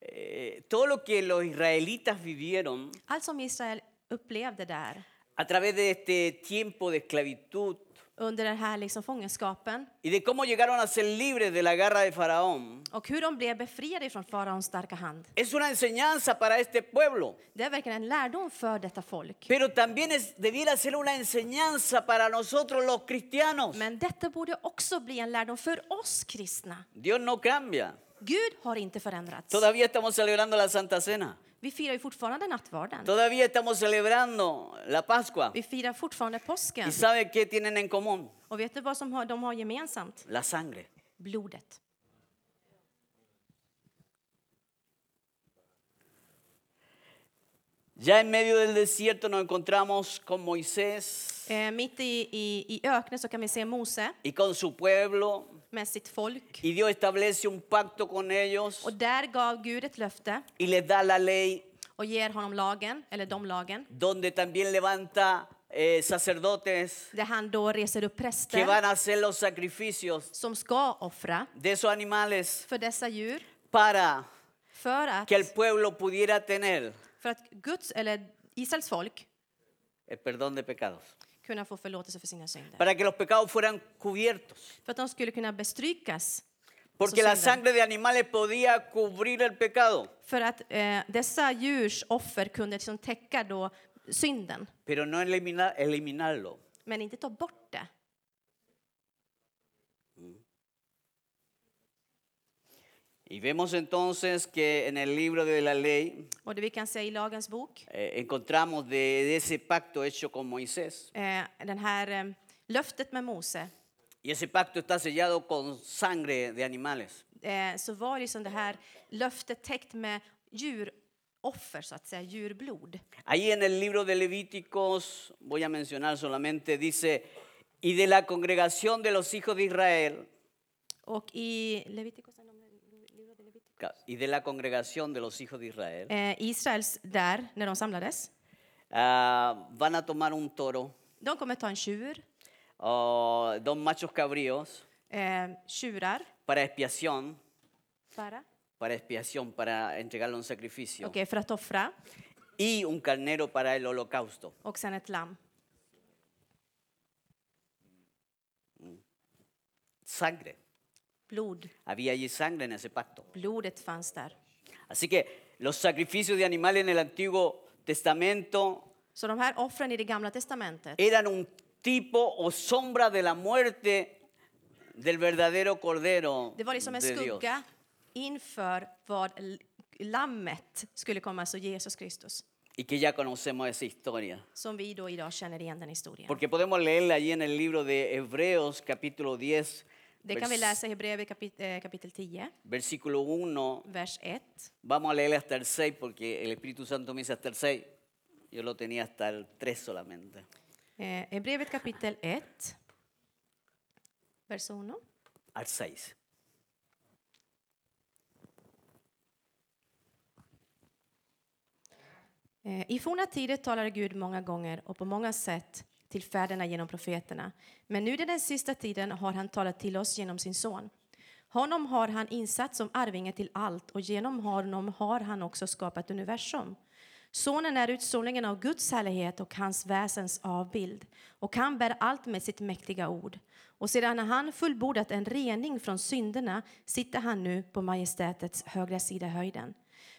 S4: eh, todo lo que los israelitas vivieron
S5: Allt som Israel upplevde där
S4: a través de este tiempo de esclavitud
S5: under den här liksom fångenskapen
S4: y de cómo llegaron a ser libres de la garra de Faraón,
S5: och hur de blev befriade från faraons starka hand.
S4: es una enseñanza para este pueblo.
S5: Det är verkligen en lärdom för detta folk.
S4: Pero también es- debiera ser una enseñanza para nosotros los cristianos.
S5: Men detta borde också bli en lärdom för oss kristna.
S4: Dios no cambia.
S5: Gud har inte förändrats.
S4: Todavía estamos celebrando la Santa Cena.
S5: Vi firar ju fortfarande nattvarden.
S4: Todavía estamos celebrando la Pascua.
S5: Vi firar fortfarande påsken.
S4: ¿Y sabe qué tienen en común?
S5: Och vet du vad som har, de har gemensamt?
S4: La sangre.
S5: Blodet.
S4: Ya en medio del desierto nos encontramos con Moisés
S5: Eh, mitt i, i, i öknen så kan vi se Mose
S4: y con su pueblo.
S5: med sitt folk.
S4: Y Dios establece un pacto con ellos
S5: Och där gav Gud ett löfte
S4: y les da la ley,
S5: och ger honom lagen, eller de lagen,
S4: donde también levanta eh, sacerdotes
S5: där han då reser upp
S4: que
S5: präster
S4: van a hacer los sacrificios
S5: som ska offra
S4: de esos animales
S5: för dessa djur
S4: para
S5: för att,
S4: que el pueblo pudiera tener
S5: för att Guds, eller Israels folk
S4: el perdón de pecados,
S5: kunna få förlåtelse för sina synder.
S4: para que los pecados fueran cubiertos,
S5: För att de skulle kunna bestrykas.
S4: porque la
S5: Suceda.
S4: sangre de animales podía cubrir el pecado,
S5: För att eh, dessa djurs offer kunde liksom täcka då synden,
S4: pero no elimina- eliminarlo.
S5: men inte ta bort det.
S4: Y vemos entonces que en el libro de la ley
S5: Och det vi kan se i lagens bok,
S4: eh, encontramos de, de ese pacto hecho con Moisés,
S5: eh, den här eh, löftet med Mose,
S4: y ese pacto está sellado con sangre de animales.
S5: eh, så var liksom det här löftet täckt med djuroffer, så att säga, djurblod.
S4: Ahí en el libro de Levíticos, voy a mencionar solamente, dice, y de la congregación de los hijos de Israel,
S5: Och i Leviticus,
S4: Ca- y de la congregación de los hijos de Israel,
S5: eh, Israels där, när de samlades,
S4: ah, van a tomar un toro,
S5: de kommer ta en tjur,
S4: ah, dos machos cabríos,
S5: eh, tjurar,
S4: para expiación,
S5: para,
S4: para expiación, para entregarle un sacrificio.
S5: Okej, för att offra.
S4: Y un carnero para el holocausto.
S5: Och sen ett lamm.
S4: Sangre.
S5: Blod.
S4: Había allí sangre en ese pacto.
S5: Blodet fanns där.
S4: Así que los sacrificios de animales en el Antiguo Testamento
S5: Så de här offren i det gamla testamentet
S4: eran un tipo o sombra de la muerte del verdadero Cordero
S5: Det var liksom en
S4: de Dios.
S5: skugga inför vad l- lammet skulle komma, alltså Jesus Kristus.
S4: Y que ya conocemos esa historia.
S5: Som vi då idag känner igen den historien.
S4: Porque podemos leerla allí en el libro de Hebreos capítulo 10,
S5: Det kan vi
S4: vers-
S5: läsa i Hebreerbrevet kapit eh, kapitel 10,
S4: versículo 1.
S5: vers 1.
S4: Vamos a leer hasta el 6 porque el Espíritu Santo me dice hasta el 6. Yo lo tenía hasta el 3 solamente.
S5: Eh, Hebreerbrevet kapitel 1, vers 1.
S4: Al 6.
S5: Eh, I forna tider talade Gud många gånger och på många sätt till fäderna genom profeterna. Men nu i den sista tiden har han talat till oss genom sin son. Honom har han insatt som arvinge till allt och genom honom har han också skapat universum. Sonen är utstrålningen av Guds härlighet och hans väsens avbild och han bär allt med sitt mäktiga ord. Och sedan han fullbordat en rening från synderna sitter han nu på majestätets högra sida höjden.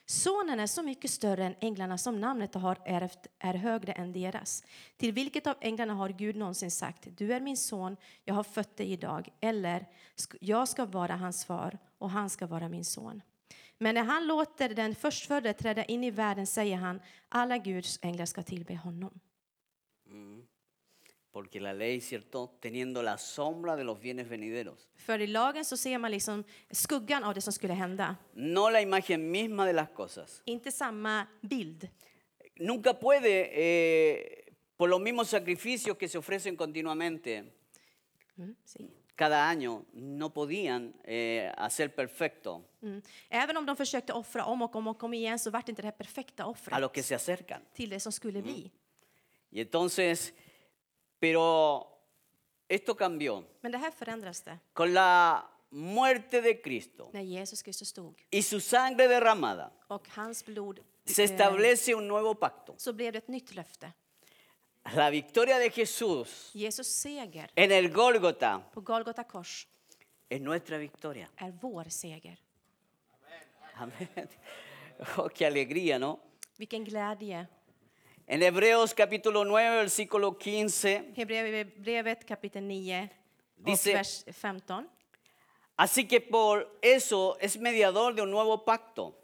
S5: Sonen är så mycket större än änglarna som namnet har ärvt är högre än deras. Till vilket av änglarna har Gud någonsin sagt du är min son, jag har fött dig idag eller "Sk- jag ska vara hans far och han ska vara min son. Men när han låter den förstfödde träda in i världen säger han alla Guds änglar ska tillbe honom.
S4: Porque la ley, ¿cierto? Teniendo la sombra de los bienes venideros.
S5: För i lagen så ser man liksom skuggan av det som skulle hända.
S4: No la imagen misma de las cosas.
S5: Inte samma bild.
S4: Nunca puede, eh, por los mismos sacrificios que se ofrecen continuamente
S5: Mm, si.
S4: cada año, no podían eh, hacer perfecto
S5: Mm. Även om de försökte offra om och om och om igen så vart inte det här perfekta offret.
S4: a los que se acercan.
S5: till det som skulle bli.
S4: Y entonces, pero esto cambió
S5: Men det här förändras det
S4: con la muerte de Cristo
S5: när Jesus Kristus dog
S4: y su sangre derramada.
S5: och hans blod
S4: Se
S5: eh,
S4: establece un nuevo pacto.
S5: så blev det ett nytt löfte.
S4: La victoria de Jesús
S5: Jesus seger
S4: en el Gólgota
S5: på Golgata kors
S4: es nuestra victoria.
S5: är vår seger.
S4: Amén. <laughs> Oh, qué alegría, ¿no?
S5: Vilken glädje.
S4: En Hebreos capítulo 9, versículo 15,
S5: Hebreerbrevet kapitel 9 och
S4: Dice-
S5: vers 15.
S4: así que por eso es mediador de un nuevo pacto,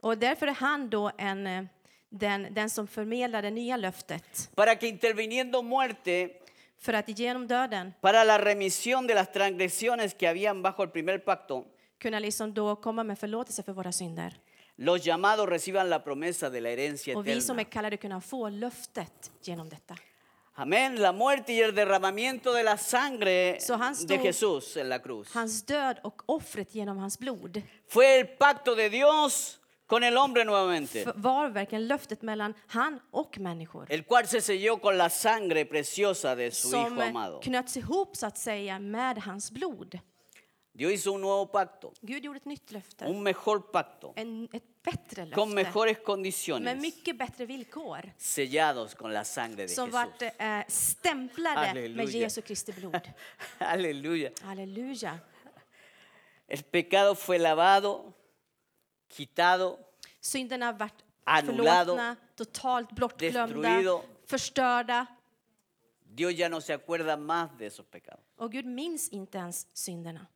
S5: Och därför är han då en, eh, den, den som förmedlar det nya löftet
S4: para que interviniendo muerte,
S5: för att genom döden
S4: para la remisión de las transgresiones que habían bajo el primer pacto,
S5: kunna liksom då komma med förlåtelse för våra synder.
S4: los llamados reciban la promesa de la herencia
S5: Och vi som är
S4: eterna.
S5: kallade kunna få löftet genom detta.
S4: Amén, la muerte y el derramamiento de la sangre
S5: So, Hans
S4: de
S5: tú-
S4: Jesús en la cruz.
S5: Hans död och offret genom hans blod
S4: Fue el pacto de Dios con el hombre nuevamente,
S5: f- var verkligen löftet mellan han och människor
S4: el cual se selló con la sangre preciosa de su
S5: som
S4: Hijo
S5: eh,
S4: amado.
S5: knöts ihop så att säga med hans blod.
S4: Dios hizo un nuevo pacto,
S5: Gud gjorde ett nytt löfte,
S4: un mejor pacto,
S5: en, ett bättre
S4: con
S5: löfte
S4: mejores
S5: med
S4: condiciones,
S5: mycket bättre villkor
S4: sellados con la sangre de
S5: som vart
S4: Jesús.
S5: eh, stämplade med
S4: Halleluja.
S5: Jesu Kristi blod.
S4: <laughs> Aleluya.
S5: Halleluja.
S4: El pecado fue lavado, quitado,
S5: Synderna vart
S4: Anulado.
S5: förlåtna, totalt bortglömda,
S4: Destruido.
S5: förstörda
S4: Dios ya no se acuerda más de esos pecados.
S5: och Gud minns inte ens synderna.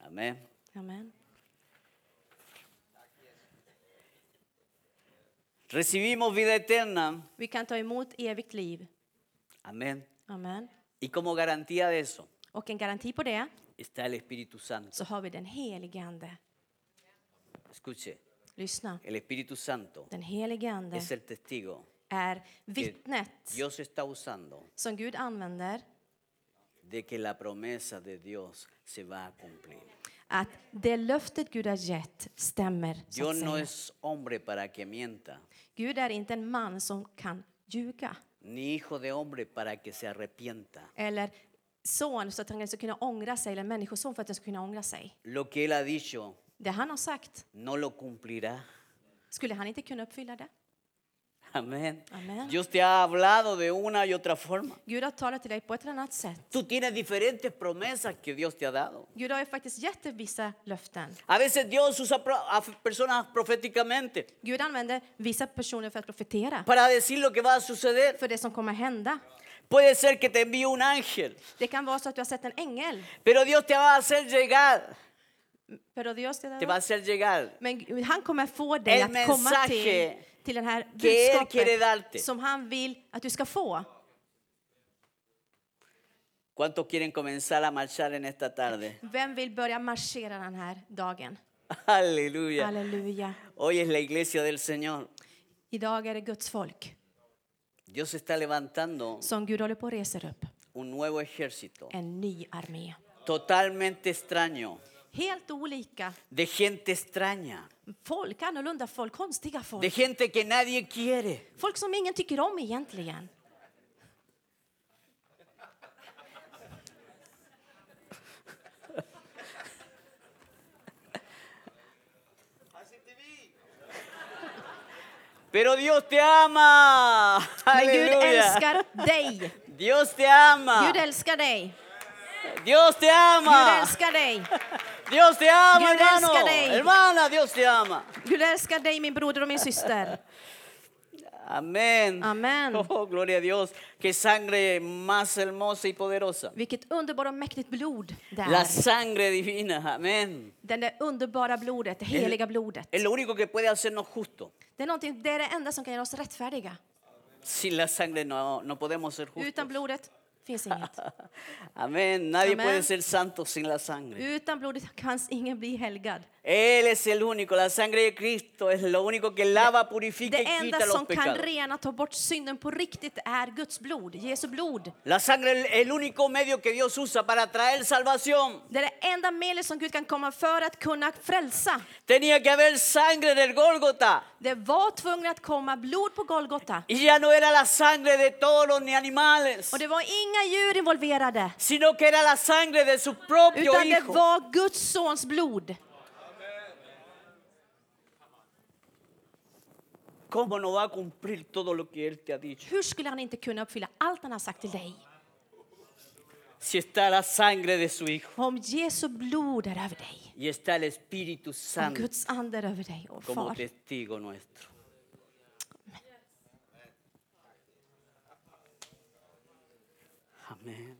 S4: Amén.
S5: Amen.
S4: Recibimos vida eterna.
S5: Vi kan ta emot evigt liv.
S4: Amén.
S5: Amen.
S4: Y como garantía de eso
S5: Och en garanti på det
S4: está el Espíritu Santo.
S5: så har vi den helige Ande.
S4: Escuche,
S5: Lyssna.
S4: el Espíritu Santo
S5: Den helige Ande
S4: es el testigo
S5: är
S4: que
S5: vittnet
S4: Dios está usando
S5: som Gud använder
S4: de que la promesa de Dios se va a cumplir.
S5: att det löftet Gud har gett stämmer. Så
S4: Dios
S5: att
S4: no
S5: säga.
S4: es hombre para que mienta,
S5: Gud är inte en man som kan ljuga
S4: ni hijo de hombre para que se arrepienta.
S5: eller son så att han ska kunna ångra sig, eller en människoson för att han ska kunna ångra sig.
S4: Lo que Él ha dicho
S5: Det han har sagt,
S4: no lo cumplirá.
S5: skulle han inte kunna uppfylla det?
S4: Amén.
S5: Amén.
S4: Dios te ha hablado de una y otra forma.
S5: Gud har talat till dig på ett eller annat sätt.
S4: Tú tienes diferentes promesas que Dios te ha dado.
S5: Gud har ju faktiskt gett dig vissa löften.
S4: A veces Dios usa pro- a personas proféticamente
S5: Gud använder vissa personer för att profetera,
S4: para decir lo que va a suceder.
S5: för det som kommer hända.
S4: Puede ser que te envíe un ángel,
S5: Det kan vara så att du har sett en ängel.
S4: pero Dios te va a hacer llegar.
S5: Pero Dios te
S4: Te va a
S5: dará.
S4: hacer llegar.
S5: Men Gud- han kommer få dig
S4: El
S5: att komma till,
S4: mensaje
S5: till den här
S4: que él quiere darte.
S5: budskapet som han vill att du ska få.
S4: ¿Cuántos quieren comenzar a marchar en esta tarde? <laughs>
S5: Vem vill börja marschera den här dagen?
S4: Aleluya.
S5: Halleluja.
S4: Hoy es la iglesia del Señor.
S5: Idag är det Guds folk
S4: Dios está levantando
S5: som Gud håller på och reser upp.
S4: un nuevo ejército
S5: En ny armé.
S4: totalmente extraño,
S5: Helt olika
S4: de gente extraña,
S5: folk, annorlunda folk, konstiga folk.
S4: de gente que nadie quiere.
S5: Folk som ingen tycker om egentligen.
S4: Pero Dios te ama. <laughs>
S5: Men Gud
S4: Aleluya.
S5: älskar dig.
S4: Dios te ama.
S5: Gud älskar dig.
S4: Dios te
S5: Gud
S4: ama.
S5: älskar dig.
S4: Dios te ama,
S5: Gud
S4: hermano.
S5: älskar dig.
S4: Hermana, Dios te ama.
S5: Gud älskar dig min broder och min syster.
S4: Amén.
S5: Amén.
S4: <laughs> Oh, gloria a Dios. Qué sangre más hermosa y poderosa.
S5: Vilket underbart och mäktigt blod det
S4: La
S5: är.
S4: sangre divina. Amén.
S5: Det där underbara blodet, det heliga blodet.
S4: Es lo único que puede hacernos justos.
S5: Det är, någonting- det är det enda som kan göra oss rättfärdiga.
S4: Sin la sangre no, no podemos ser justos.
S5: Utan blodet finns inget.
S4: Amén. Nadie
S5: Amén.
S4: puede ser santo sin la sangre.
S5: Utan blodet kan ingen bli helgad.
S4: Él es el único. La sangre de Cristo es lo único que lava, purifica y
S5: Det enda
S4: quita los
S5: som kan
S4: pecados.
S5: rena, ta bort synden på riktigt är Guds blod, Jesu blod.
S4: La sangre es el único medio que Dios usa para traer salvación.
S5: Det är det enda medlet som Gud kan komma för att kunna frälsa.
S4: Tenía que haber sangre en el Gólgota.
S5: Det var tvungen att komma blod på Golgata.
S4: Y ya no era la sangre de toros ni animales,
S5: Och det var inga djur involverade.
S4: sino que era la sangre de su propio
S5: Utan det
S4: hijo.
S5: var Guds sons blod.
S4: ¿Cómo no va a cumplir todo lo que Él te ha dicho?
S5: Hur skulle han inte kunna uppfylla allt han har sagt till dig?
S4: Si está la sangre de su hijo
S5: Om Jesu blod är över dig,
S4: y está el Espíritu
S5: om
S4: Santo
S5: Guds ande är över dig och
S4: como
S5: far.
S4: testigo nuestro. Amén.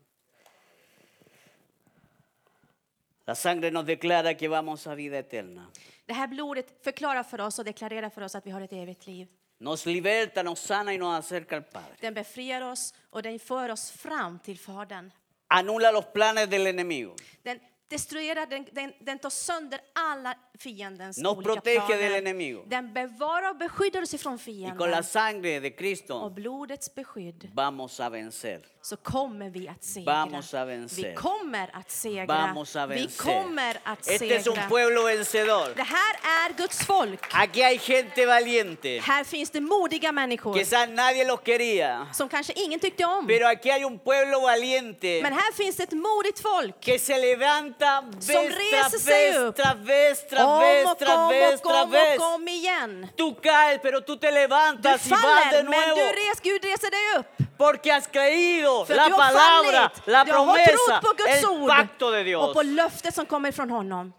S4: La sangre nos declara que vamos a vida eterna.
S5: Det här blodet förklarar för oss och deklarerar för oss att vi har ett evigt liv.
S4: Nos liberta, nos sana y nos acerca al Padre.
S5: Den befriar oss och den för oss fram till Fadern.
S4: anula los planes del enemigo,
S5: Den destruerar, den, den, den tar sönder alla fiendens
S4: Nos
S5: olika
S4: protege
S5: planer.
S4: del enemigo.
S5: Den bevarar och beskyddar oss ifrån
S4: y
S5: fienden.
S4: con la sangre de
S5: Och
S4: Cristo
S5: blodets beskydd
S4: vamos a vencer.
S5: så kommer vi att segra.
S4: Vamos a vencer.
S5: Vi kommer att segra.
S4: Vamos a
S5: vi
S4: vencer.
S5: kommer att
S4: Este es un
S5: segra.
S4: pueblo vencedor.
S5: Det här är Guds folk.
S4: Aquí hay gente valiente.
S5: Här finns det modiga människor
S4: Quizás nadie los quería,
S5: som kanske ingen tyckte om.
S4: pero aquí hay un pueblo valiente
S5: Men här finns det ett modigt folk.
S4: que se levanta vez
S5: Som reser
S4: tras
S5: sig
S4: vez,
S5: upp.
S4: tras vez, tras
S5: Om
S4: vez,
S5: och
S4: tras
S5: om
S4: vez,
S5: och
S4: tras
S5: om
S4: vez.
S5: och om igen.
S4: Tú caes, pero tú te
S5: Du
S4: levantas y vas de
S5: faller, men
S4: nuevo
S5: du res, Gud reser dig upp.
S4: porque has creído
S5: För
S4: la
S5: du har
S4: palabra,
S5: fallit.
S4: la
S5: du har
S4: promesa,
S5: trott på Guds
S4: el pacto de
S5: ord och
S4: Dios.
S5: på löftet som kommer från honom.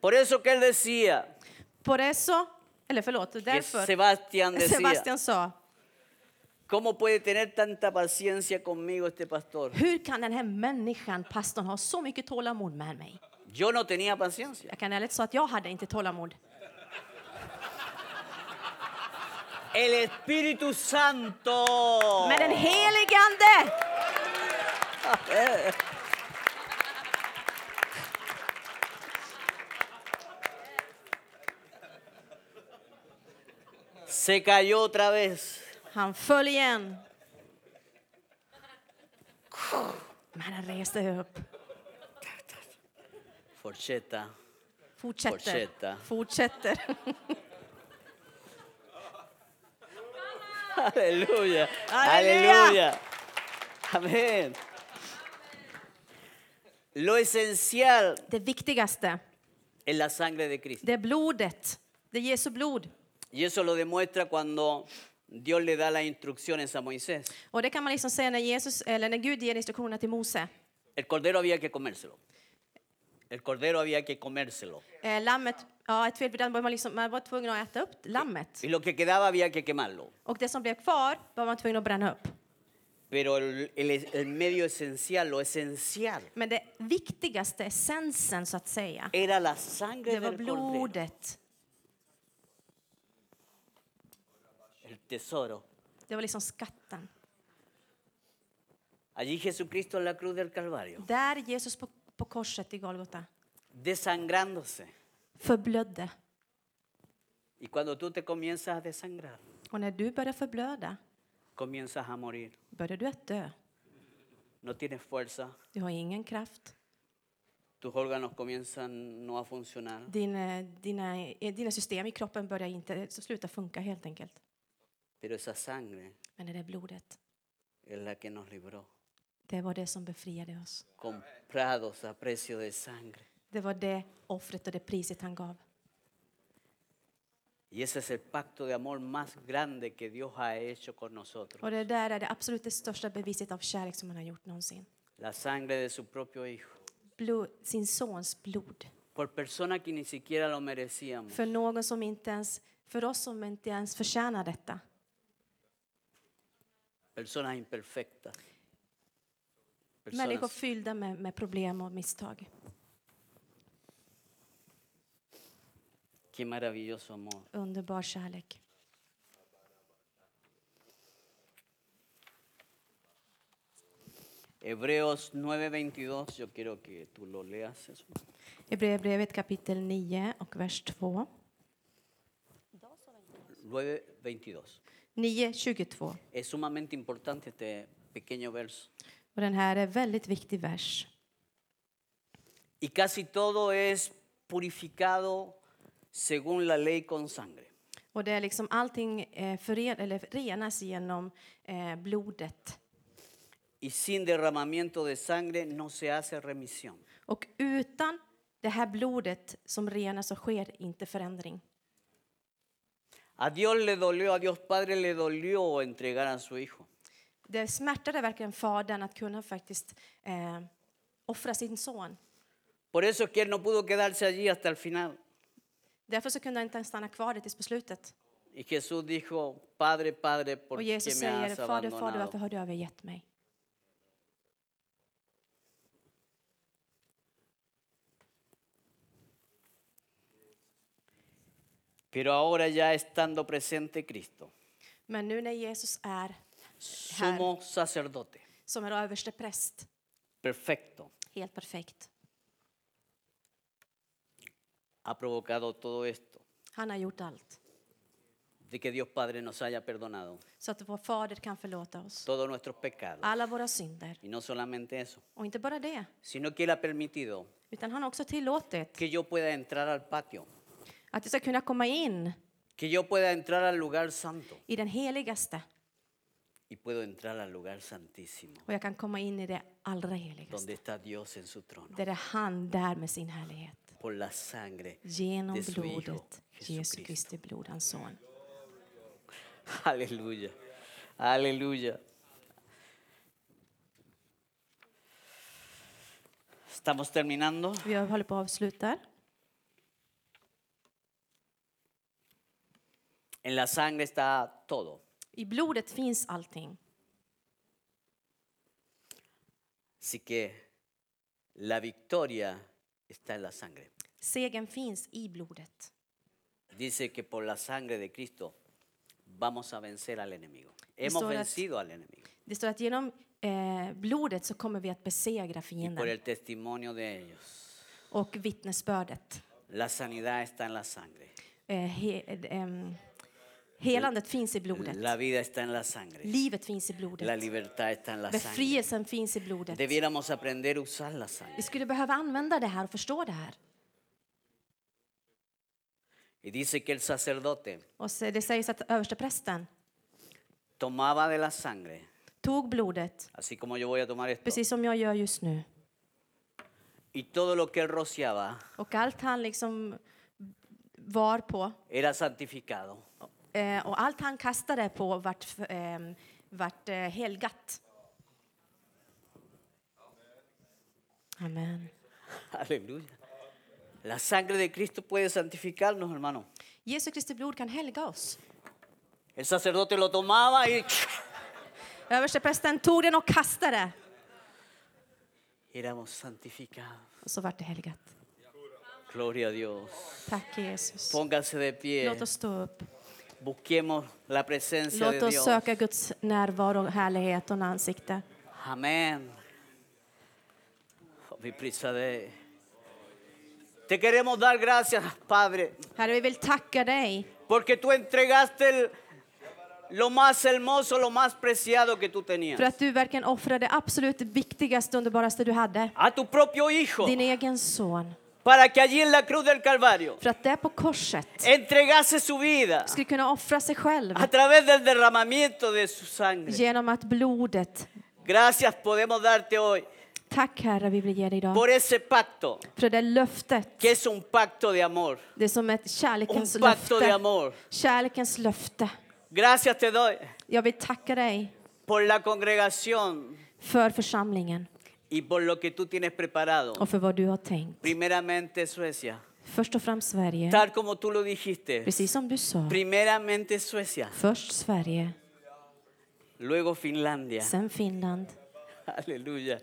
S4: Por eso que él decía,
S5: Por eso, eller förlåt,
S4: que
S5: därför
S4: Sebastián decía,
S5: Sebastian sa,
S4: ¿cómo puede tener tanta paciencia conmigo este pastor?
S5: hur kan den här människan, pastorn, ha så mycket tålamod med mig?
S4: Yo no tenía paciencia.
S5: Jag kan ärligt säga att jag hade inte tålamod.
S4: El Espíritu Santo.
S5: Men den helige Ande,
S4: Se cayó otra vez.
S5: han föll igen. Men han reste upp.
S4: <laughs> Forcheta.
S5: Fortsätter.
S4: Fortsätta.
S5: Fortsätter.
S4: Aleluya.
S5: Aleluya.
S4: Aleluya. Amén. Lo esencial
S5: Det viktigaste,
S4: es la sangre de Cristo.
S5: det är blodet. Det är Jesu blod.
S4: Y eso lo demuestra cuando Dios le da las instrucciones a Moisés.
S5: Och det kan man liksom säga när, Jesus, eller när Gud ger instruktionerna till Mose.
S4: El cordero había que comérselo. El cordero había que comérselo.
S5: Eh, lammet, ja, ett fel, för den var man, liksom, man var tvungen att äta upp lammet.
S4: Y lo que quedaba había que quemarlo.
S5: Och det som blev kvar var man tvungen att bränna upp.
S4: Pero el, el- el medio esencial, lo esencial,
S5: Men det viktigaste, essensen så att säga,
S4: era la
S5: det
S4: sangre
S5: var
S4: del cordero.
S5: blodet.
S4: El tesoro.
S5: Det var liksom skatten.
S4: Allí Jesucristo en la cruz del Calvario,
S5: Där Jesus på, på korset i Golgota
S4: desangrándose.
S5: förblödde.
S4: Y cuando tú te comienzas a desangrar,
S5: Och när du börjar förblöda
S4: comienzas a morir.
S5: börjar du att dö.
S4: No tienes fuerza,
S5: Du har ingen kraft.
S4: tus órganos comienzan no a funcionar.
S5: Din, eh, dina, eh, dina system i kroppen börjar inte sluta funka helt enkelt.
S4: Pero esa sangre
S5: Men det är blodet.
S4: es la que nos libró.
S5: Det var det som befriade oss.
S4: Comprados a precio de sangre.
S5: Det var det offret och det priset han gav.
S4: Y ese es el pacto de amor más grande que Dios ha hecho con
S5: Och
S4: nosotros.
S5: det där är det absolut det största beviset av kärlek som han har gjort någonsin.
S4: La sangre de su propio Hijo.
S5: Blod, sin sons blod.
S4: Por personas que ni siquiera lo merecíamos.
S5: För någon som inte ens, för oss som inte ens förtjänar detta.
S4: Personas imperfectas.
S5: Människor
S4: Personas-
S5: fyllda med, med problem och misstag.
S4: Qué maravilloso amor.
S5: Underbar kärlek.
S4: Hebreos 9:22. Yo quiero que tú lo leas. eso.
S5: Hebreerbrevet kapitel 9 och vers 2.
S4: 9:22.
S5: 9, 22.
S4: Es sumamente importante este pequeño verso.
S5: Och den här är en väldigt viktig vers.
S4: Y casi todo es purificado según la ley con sangre.
S5: Och det är liksom allting eh, fören, eller renas genom eh, blodet.
S4: Y sin derramamiento de sangre no se hace remisión.
S5: Och utan det här blodet som renas så sker inte förändring.
S4: A Dios le dolió, a Dios Padre le dolió entregar a su Hijo.
S5: Det smärtade verkligen fadern att kunna faktiskt eh, offra sin son.
S4: Por eso es que Él no pudo quedarse allí hasta el final.
S5: Därför så kunde han inte ens stanna kvar där tills på slutet.
S4: Y Jesús dijo, Padre, Padre, ¿por
S5: Och
S4: qué
S5: Jesus
S4: me
S5: säger,
S4: has
S5: Fader, Fader, varför
S4: abandonado?
S5: har du övergett mig?
S4: Pero ahora ya estando presente Cristo,
S5: Men nu när Jesus är
S4: sumo sacerdote,
S5: som en överste präst,
S4: perfecto,
S5: helt perfekt.
S4: ha provocado todo esto,
S5: Han har gjort allt
S4: de que Dios Padre nos haya perdonado
S5: så att vår fader kan förlåta oss.
S4: todos nuestros pecados.
S5: Alla våra synder.
S4: Y no solamente eso,
S5: Och inte bara det,
S4: sino que Él ha permitido
S5: utan han har också tillåtit
S4: que yo pueda entrar al patio,
S5: att vi ska kunna komma in
S4: que yo pueda entrar al lugar santo
S5: i den heligaste
S4: y puedo entrar al lugar santísimo,
S5: och jag kan komma in i det allra heligaste.
S4: donde está Dios en su trono,
S5: Där är han där med sin härlighet.
S4: por la sangre.
S5: Genom
S4: Det är så vi gör.
S5: blodet, Jesu Kristi blod, hans son.
S4: <laughs> Aleluya, aleluya. Estamos terminando.
S5: Vi håller på att avsluta.
S4: En la sangre está todo.
S5: I blodet finns allting.
S4: Así que la victoria está en la sangre.
S5: Segen finns i blodet.
S4: Dice que por la sangre de Cristo vamos a vencer al enemigo. Hemos
S5: Esto era-
S4: vencido al enemigo.
S5: Det står att genom eh, blodet så kommer vi att besegra
S4: y por
S5: fienden
S4: el testimonio de ellos.
S5: och vittnesbördet.
S4: La sanidad está en la sangre.
S5: Eh, he, ehm, helandet finns i
S4: La
S5: blodet.
S4: vida está en la sangre.
S5: Livet finns i
S4: La
S5: blodet.
S4: libertad está en la sangre.
S5: Befrielsen finns i blodet.
S4: Debiéramos aprender a usar la
S5: Vi
S4: sangre.
S5: skulle behöva använda det här och förstå det här.
S4: Y dice que el sacerdote
S5: Och så, det sägs att översteprästen
S4: tomaba de la sangre,
S5: tog blodet,
S4: así como yo voy a tomar esto,
S5: precis som jag gör just nu,
S4: Y todo lo que él rociaba
S5: Och allt han liksom var på
S4: era santificado. <laughs>
S5: eh, och allt han kastade på vart, f- ehm, vart eh, helgat. Amen.
S4: Aleluya. La sangre de Cristo puede santificarnos, hermano.
S5: Jesu Kristi blod kan helga oss.
S4: El sacerdote lo tomaba y
S5: Översteprästen tog den och kastade.
S4: éramos santificados.
S5: Och så vart det helgat.
S4: Gloria a Dios.
S5: Tack Jesus.
S4: Pónganse de pie.
S5: Låt oss stå upp.
S4: Busquemos la presencia
S5: Låt
S4: de
S5: oss
S4: Dios.
S5: söka Guds närvaro, härlighet och ansikte.
S4: Amén. Oh, Mi prisa de. Te queremos dar gracias, Padre,
S5: Herre, vi vill tacka dig
S4: porque tú entregaste el- lo más hermoso, lo más preciado que tú tenías.
S5: för att du verkligen offrade det absolut viktigaste, underbaraste du hade.
S4: A tu propio Hijo,
S5: Din egen son.
S4: para que allí en la cruz del Calvario
S5: För att där på korset
S4: entregase su vida
S5: skulle kunna offra sig själv
S4: a través del derramamiento de su sangre.
S5: genom att blodet.
S4: Gracias podemos darte hoy
S5: Tack Herre, vi vill ge dig idag.
S4: por ese pacto,
S5: För det löftet.
S4: que es un pacto de amor.
S5: Det är som ett
S4: Un
S5: kärlekens
S4: pacto de
S5: löfte.
S4: amor.
S5: Kärlekens löfte.
S4: Gracias te doy
S5: Jag vill tacka dig
S4: por la congregación
S5: för församlingen
S4: y por lo que tú tienes preparado.
S5: och för vad du har tänkt.
S4: Primeramente Suecia,
S5: Först och främst Sverige,
S4: tal como tú lo dijiste.
S5: precis som du sa.
S4: Primeramente Suecia,
S5: Först Sverige,
S4: luego Finlandia,
S5: sen Finland,
S4: <laughs> aleluya,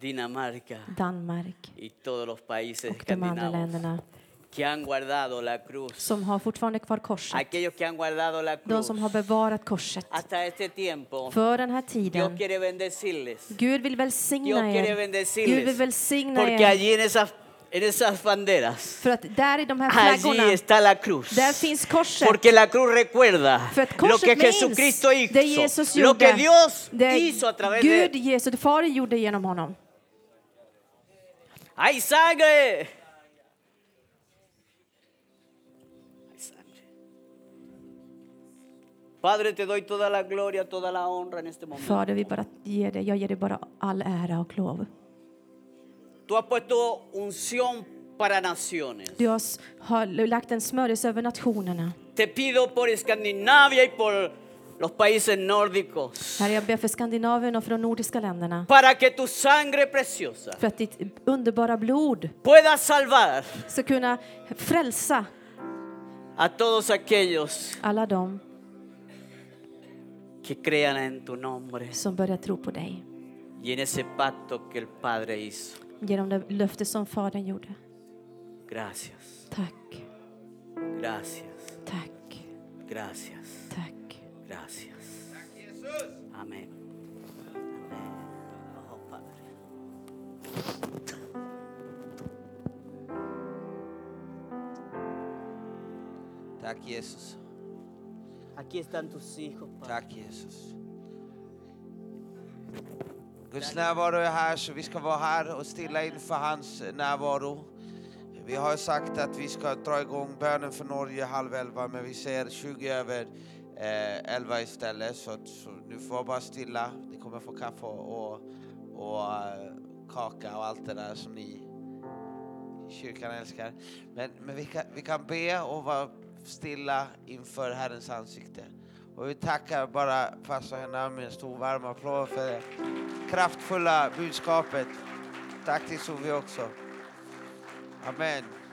S4: Dinamarca
S5: Danmark
S4: y todos los países
S5: och de andra
S4: escandinavos
S5: länderna
S4: que han guardado la cruz.
S5: som har fortfarande kvar korset.
S4: Aquellos que han guardado la
S5: De
S4: cruz
S5: som har bevarat korset.
S4: hasta este tiempo,
S5: För den här
S4: Dios
S5: tiden.
S4: quiere bendecirles.
S5: Gud vill
S4: Dios
S5: välsigna
S4: quiere
S5: er. Gud vill
S4: bendecirles.
S5: välsigna
S4: Porque
S5: er.
S4: allí en esas, en esas banderas,
S5: För att där i de här
S4: allí
S5: flaggorna,
S4: está la cruz.
S5: där finns korset.
S4: Porque la cruz recuerda
S5: För att
S4: lo
S5: korset
S4: que
S5: minns
S4: Jesucristo hizo,
S5: det Jesus
S4: lo que
S5: gjorde.
S4: Dios
S5: Det
S4: hizo a través de
S5: Gud,
S4: él.
S5: Jesus, det Fader gjorde genom honom.
S4: ¡Hay sangre! Hay sangre. Padre, te doy toda la gloria, toda la honra en este momento.
S5: Fader, vi bara ger dig, jag ger dig bara all ära och lov.
S4: Tú has puesto unción para naciones.
S5: Du har, s- har lagt en smörjelse över nationerna.
S4: Te pido por Escandinavia y por los países nórdicos,
S5: Herre, jag ber för Skandinavien och för de nordiska länderna.
S4: para que tu sangre preciosa
S5: För att ditt underbara blod
S4: pueda salvar
S5: ska kunna frälsa
S4: a todos aquellos
S5: alla dem
S4: que crean en tu nombre
S5: som börjar tro på dig
S4: y en ese pacto que el Padre hizo.
S5: genom det löfte som Fadern gjorde.
S4: Gracias,
S5: Tack,
S4: gracias,
S5: tack,
S4: gracias.
S5: tack.
S4: Gracias. Amén. Amén. Oh, Padre.
S1: Tack Jesus.
S4: Aquí están tus hijos, Padre.
S1: Tack Jesus. Guds närvaro är här så vi ska vara här och stilla inför hans närvaro. Vi har sagt att vi ska dra igång bönen för Norge halv elva men vi ser 20 över eh, elva istället så, att, så nu får jag bara stilla. Ni kommer få kaffe och, och, och eh, kaka och allt det där som ni kyrkan älskar. Men, men vi, kan, vi kan be och vara stilla inför Herrens ansikte. Och vi tackar bara pastor Henna med en stor varm applåd för det kraftfulla budskapet. Tack till Sovi också. Amen.